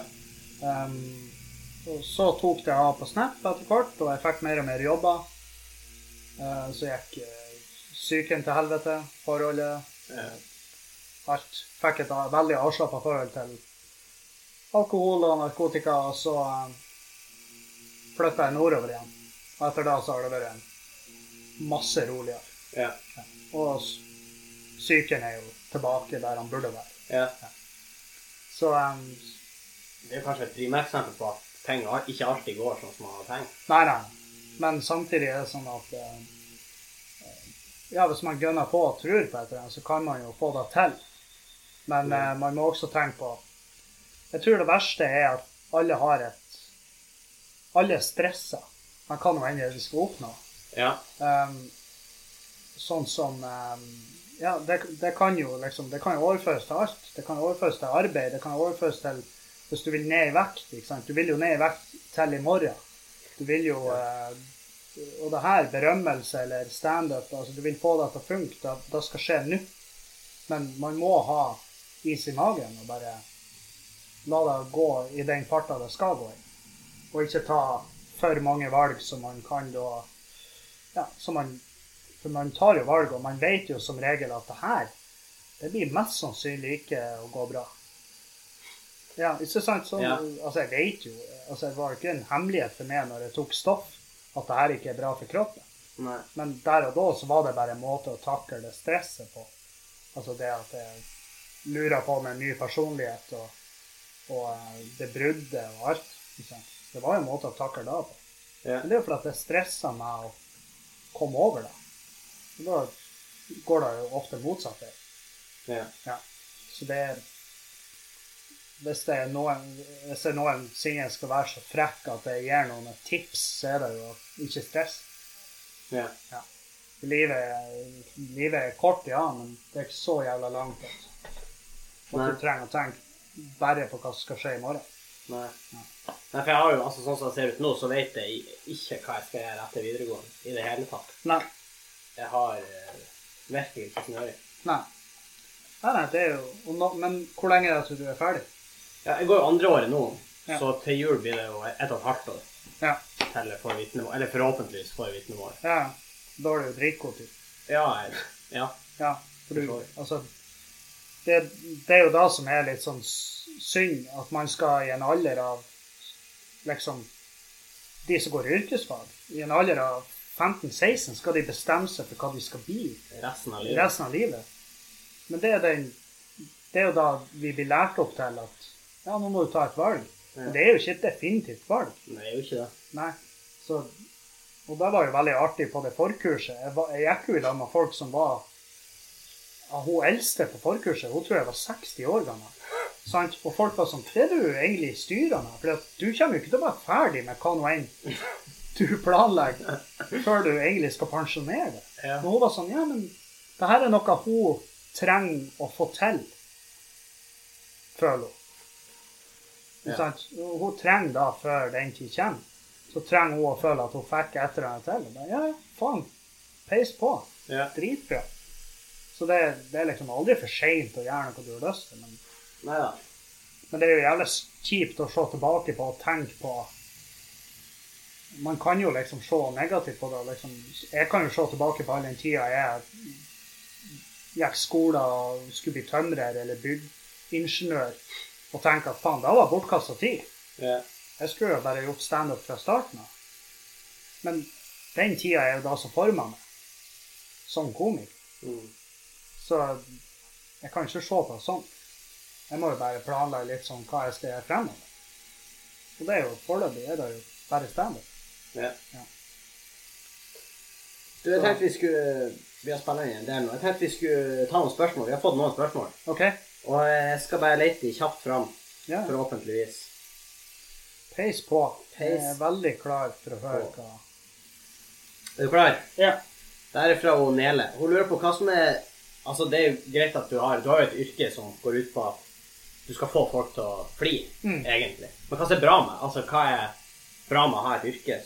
Em, og Ehm, så tok det av på Snap etter hvert, og jeg fikk mer og mer jobber. Eh, så gikk eh, psyken til helvete, forholdet, ja. alt. Fikk et av- veldig avslappa forhold til alkohol og narkotika, og så flytta jeg nordover igjen. Og etter da så har det vært en masse roligere. ja. Og s- psyken er jo tilbake der han burde være. ja. Så ehm, em, Det er kanskje et primeksempel på at ting al- ikke alltid går sånn som man har tenkt. Nei, nei. Men samtidig er det sånn at eh, Ja, hvis man gønner på og tror på et eller annet, så kan man jo få det til. Men eh, man må også tenke på Jeg tror det verste er at alle har et Alle er stressa. Man kan jo hende de skal oppnå. Ja. Ehm, sånn som ehm, Ja, det, det kan jo liksom Det kan jo overføres til alt. Det kan overføres til arbeid. Det kan overføres til Hvis du vil ned i vekt, ikke sant. Du vil jo ned i vekt til i morgen. Du vil jo eh, Og det her, berømmelse eller standup, altså du vil få det til å funke. Det, det skal skje nå. Men man må ha is i magen og bare la det gå i den farta det skal gå i. Og ikke ta for mange valg som man kan da ja, så man, for man tar jo valg, og man vet jo som regel at det her det blir mest sannsynlig ikke å gå bra. Ja, ikke sant? Så, Ja. Altså, jeg vet jo altså, Det var jo ikke en hemmelighet for meg når jeg tok stoff, at det her ikke er bra for kroppen. Nei. Men der og da så var det bare en måte å takle det stresset på. Altså det at jeg lurer på med en ny personlighet og, og eh, det bruddet og alt. ikke sant? Det var jo en måte å takle det på. Ja. Men det er jo fordi at det stresser meg å komme over det. Og da går det jo ofte motsatt vei. Ja. Ja. Så det er Hvis det er noen, hvis det er noen siden jeg skal være så frekk at jeg gir noen et tips, så er det jo ikke stress. Ja. Livet, livet er kort, ja, men det er ikke så jævla langt. Altså. Og Nei. du trenger å tenke bare på hva som skal skje i morgen. Nei. Nei, for jeg har jo, altså sånn som det ser ut nå, så vet jeg ikke hva jeg skal gjøre etter videregående i det hele tatt. Nei. Jeg har eh, virkelig ikke snøring. Nei. Nei, nei, det er jo og nå- Men hvor lenge er det til du er ferdig? Ja, jeg går jo andre året nå, Ja. så til jul blir det jo ett og et halvt år Ja. til jeg får vitnemål. Eller forhåpentligvis får jeg vitnemål. ja. Da er det jo dritkort. Ja, jeg- ja. Ja. For For så du, vidt. altså det, det er jo da som er litt sånn s- synd, at man skal i en alder av liksom De som går yrkesfag, i en alder av 15-16 skal de bestemme seg for hva de skal bli Resten av livet. resten av livet. Men det er, den, det er jo da vi blir lært opp til at ja, nå må du ta et valg. Men det er jo ikke et definitivt valg. Nei, det er jo ikke det. Nei. Så, og det var jo veldig artig på det forkurset. Jeg, var, jeg gikk jo i lag med folk som var ja, Hun eldste på forkurset, hun tror jeg var 60 år gammel. Sant? Og folk var sånn Det er du egentlig styrer med, for du kommer jo ikke til å være ferdig med hva nå enn du planlegger, før du egentlig skal pensjonere deg. Ja. Men hun var sånn Ja, men det her er noe hun trenger å få til, føler hun. Ja. Sant? Hun trenger da, før den tid kommer, så trenger hun å føle at hun fikk et eller annet til. Og bare, Ja, ja, faen. Peis på. Ja. Dritbra. Så det, det er liksom aldri for seint å gjøre noe du har lyst til. Men, Nei da. men det er jo jævlig kjipt å se tilbake på og tenke på Man kan jo liksom se negativt på det. og Liksom. Jeg kan jo se tilbake på all den tida jeg gikk skolen og skulle bli tømrer eller byggingeniør, og tenke at faen, det var bortkasta tid. Ja. Jeg skulle jo bare gjort standup fra starten av. Men den tida er jo da som forma meg som komiker. Mm. Så jeg kan ikke se på det sånn. Jeg må jo bare planlegge litt sånn hva jeg skal gjøre fremover. Og det er jo foreløpig er det jo bare standup. Ja. Ja. Du, jeg tenkte vi skulle Vi har spilt inn en del nå. Jeg tenkte vi skulle ta noen spørsmål. Vi har fått noen spørsmål. OK? Og jeg skal bare lete de kjapt fram, Ja. forhåpentligvis. Peis på. Jeg Peis er veldig klar for å høre på. hva Er du klar? Ja. Det her er fra hun Nele. Hun lurer på hva som er Altså, det er jo greit at du har Du har jo et yrke som går ut på at du skal få folk til å fly, Mm. egentlig. Men hva som er bra med Altså, hva er bra med å ha et yrke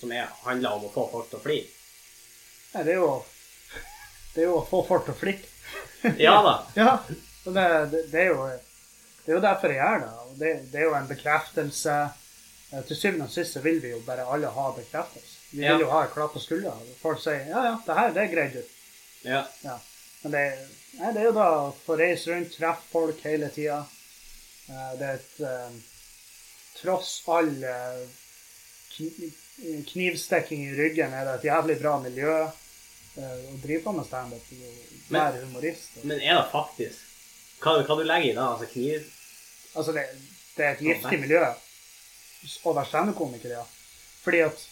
som er, handler om å få folk til å fly? Nei, det er jo Det er jo å få folk til å flikke. Ja da. Ja. Og det, det, det, er jo, det er jo derfor jeg gjør det. Og det, det er jo en bekreftelse. Eh, Til syvende og sist så vil vi jo bare alle ha bekreftelse. Vi Ja. vil jo ha et klapp på skuldra. og Folk sier 'ja, ja, det her, det greide du'. Ja. Ja. Men det, nei, det er jo da å få reise rundt, treffe folk hele tida. Eh, Det er et eh, Tross all eh, kni- knivstikking i ryggen er det et jævlig bra miljø eh, å drive på med standup. og Men- Være humorist. Og, Men er det faktisk Hva, hva du legger i det? Altså kniv? altså, det, det er et giftig miljø å være standup-komiker, ja. Fordi at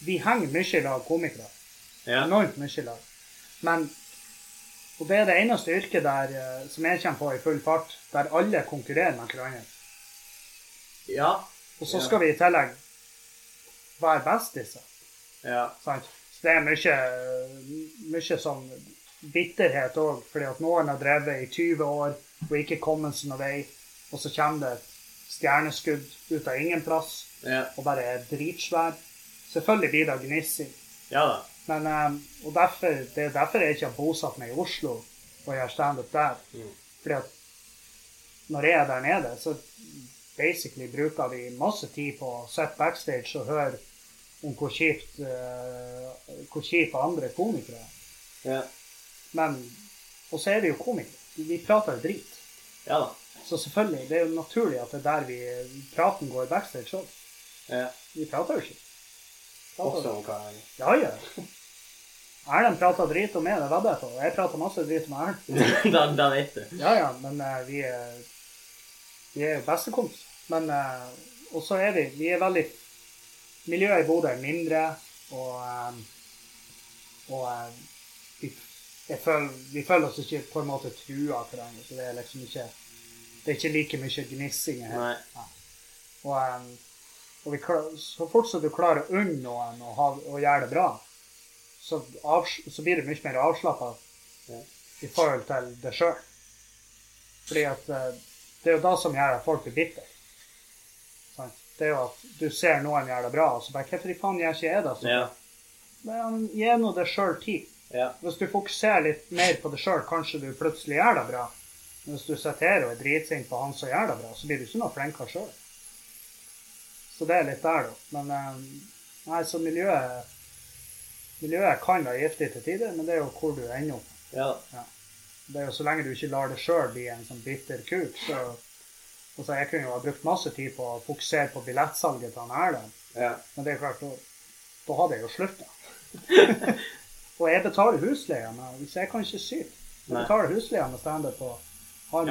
vi henger mye i lag, komikere. Ja. enormt mye i lag. Men og det er det eneste yrket der, eh, som jeg kommer på i full fart, der alle konkurrerer med hverandre. Ja. Og så Ja. skal vi i tillegg være best i seg. ja. Sant? Så det er mye, mye sånn bitterhet òg, fordi at noen har drevet i 20 år og ikke kommet seg noen vei, og så kommer det et stjerneskudd ut av ingen plass Ja, og bare er dritsvær. Selvfølgelig blir det gnissing. ja da. Men, eh, og derfor, Det er derfor jeg ikke har bosatt meg i Oslo og gjør standup der. Mm. Fordi at når jeg er der nede, så basically bruker vi masse tid på å sitte backstage og høre om hvor kjipt eh, hvor kjipe andre komikere er. Ja, Men Og så er vi jo komikere. Vi- Vi prater jo drit. ja da. Så selvfølgelig, det er jo naturlig at det er der vi praten går backstage òg. Ja. Vi prater jo ikke. Prater- Også om hva han Ja, ja. Erlend prata drit om meg, det vedder jeg på. Og jeg prata masse drit om Erlend. da, da vet du. Ja, ja, men eh, vi er vi er jo bestekompiser. Men eh, Og så er vi Vi er veldig Miljøet i Bodø er mindre, og eh, Og eh, vi, jeg føler, vi føler oss ikke på en måte trua av hverandre, så det er liksom ikke Det er ikke like mye gnissing her. Nei. Og, em, og vi klar, så fort som du klarer å unne noen og, ha, og gjøre det bra, så, avs, så blir du mye mer avslappa Ja. i forhold til deg sjøl. Fordi at eh, det er jo da som gjør at folk blir bitre. Sant? Det er jo at du ser noen gjøre det bra, og så bare 'Hvorfor i faen gjør ikke jeg det?' Så, Ja. Men gi nå deg sjøl tid. Ja. Hvis du fokuserer litt mer på deg sjøl, kanskje du plutselig gjør det bra. Men hvis du sitter her og er dritsint på han som gjør det bra, så blir du ikke noe flinkere sjøl. Så det er litt der, da. Men eh, nei, så miljøet Miljøet kan være giftig til tider, men det er jo hvor du ender opp. Ja da. Det er jo så lenge du ikke lar det sjøl bli en sånn bitter kuk, så og så Jeg kunne jo ha brukt masse tid på å fokusere på billettsalget til han Erlend, Ja. men det er klart, da, da hadde jeg jo slutta. og jeg betaler husleia, men hvis jeg kan ikke sy. Jeg Nei. betaler husleia med standup på han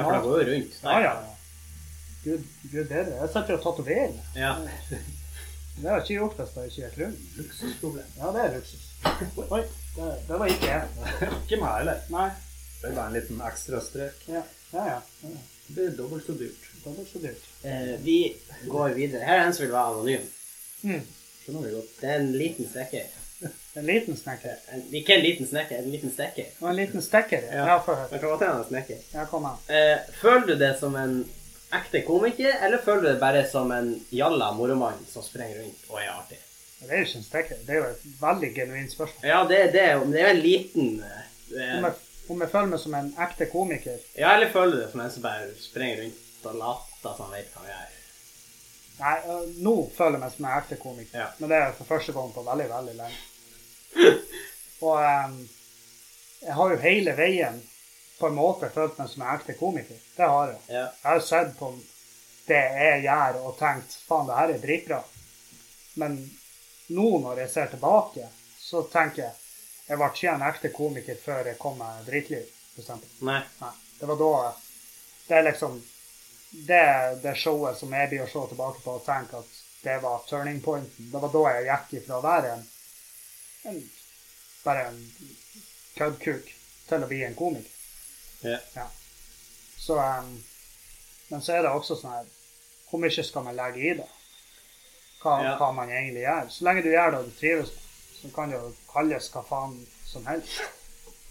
for det har. går jo rundt. Ja, ja, ja. Gud, Gud bedre. Jeg setter jo tatovering. Ja. Det har jeg ikke gjort hvis det ikke er klubben. Luksusproblem. Ja, det er luksus. Oi, det, det var ikke jeg. Ikke meg heller. Nei. Det er bare en liten ekstra strek. Ja, ja. ja. ja. Det blir dobbelt så dyrt. Det var så dyrt. Eh, vi går videre. Her er en som vil være anonym. Skjønner vi godt. Det er en liten snekker. Eh, En liten snekker. En, ikke en liten snekker, en liten snekker. Og en liten stekker. Ja. Ja, ja få høre. Man kan godt hende en snekker. Ja, kom her. Eh, føler du det som en ekte komiker, eller føler du det bare som en jalla moromann som springer rundt og er artig? Det er jo ikke en stekker. Det er jo et veldig genuint spørsmål. Ja, det, det, er jo- det er jo en liten eh, Om eh, jeg, om jeg føler meg som en ekte komiker Ja, eller føler du det som en som bare springer rundt og later som han vet hva han gjør? Nei, øh, nå føler jeg meg som en ekte komiker. Ja. Men det er for første gang på veldig, veldig lenge. Og ehm, jeg har jo hele veien på en måte følt meg som en ekte komiker. Det har jeg. Ja. Jeg har sett på det jeg gjør og tenkt faen, det her er dritbra. Men nå når jeg ser tilbake, så tenker jeg jeg ble ikke en ekte komiker før jeg kom med Dritliv, for eksempel. Nei. Nei, det var da Det er liksom det, er det showet som jeg blir å se tilbake på og tenke at det var turning pointen. Det var da jeg gikk ifra å være en, en bare en køddkuk til å bli en komiker. Ja. Så em, Men så er det også sånn her Hvor mye skal man legge i det? Hva, Ja. hva man egentlig gjør. Så lenge du gjør det og du trives, så kan det jo kalles hva faen som helst.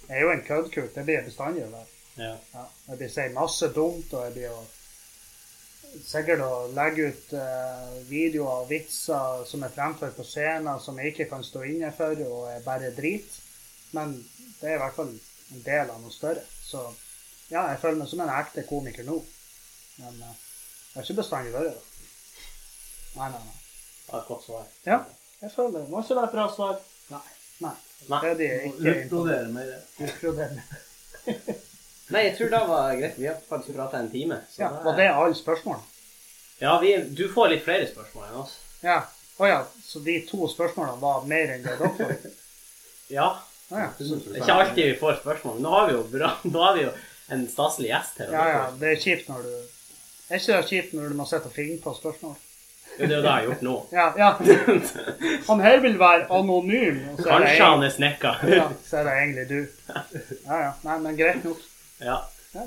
Jeg er jo en køddkuk. Det blir jeg bestandig å være. Ja. Ja, jeg blir si masse dumt, og jeg blir jo sikkert å legge ut eh, videoer og vitser som er fremført på scenen, som jeg ikke kan stå inne for, og er bare drit. Men det er i hvert fall en del av noe større. Så ja, jeg føler meg som en ekte komiker nå. Men eh, jeg har ikke bestandig vært det. Nei, nei, nei. Det var et godt svar. Ja, jeg føler det. Må ikke være et bra svar. Nei. Nei. Det er de jeg ikke Utbrodere mer. inkluderer. Nei, jeg tror det var greit. Vi har faktisk prata en time. så Ja, var det alle spørsmålene? Ja, vi, du får litt flere spørsmål enn oss. Ja. Å ja, så de to spørsmålene var mer enn det dere fikk? Ja. Å ja. Det er ikke alltid vi får spørsmål. men Nå har vi jo, bra, nå har vi jo en staselig gjest her. og ja, ja. Det er kjipt når du Er ikke det kjipt når du må sitte og finne på spørsmål? Jo, det er jo det jeg har gjort nå. Ja, ja. Han her vil være anonym, og så er det, Kanskje egentlig, han er snekker. ja, så er det egentlig du. Ja, ja. Nei, men greit nok. Ja. Ja.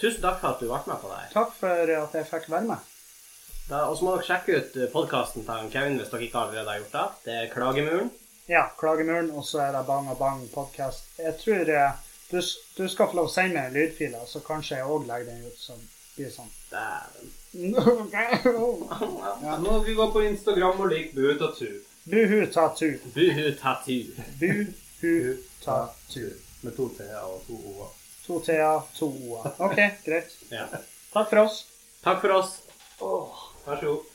Tusen takk for at du ble med på det her. Takk for at jeg fikk være med. Da- Og så må dere sjekke ut podkasten til han Kevin hvis dere ikke allerede har gjort det. Det er Klagemuren. Ja, Klagemuren, og så er det Bang og Bang podkast. Jeg tror eh, du, s- du skal få lov å sende meg en lydfil, så kanskje jeg òg legger den ut, så blir det Dæven. sånn. Ja, nå skal vi gå på Instagram og like Butatu. Buhu tatu. Buhu tattoo. Buhu tatu. Med to t-er og to o-er. To t-er, to o-er. OK, greit. Ja. Takk for oss. Takk for oss. Vær så god.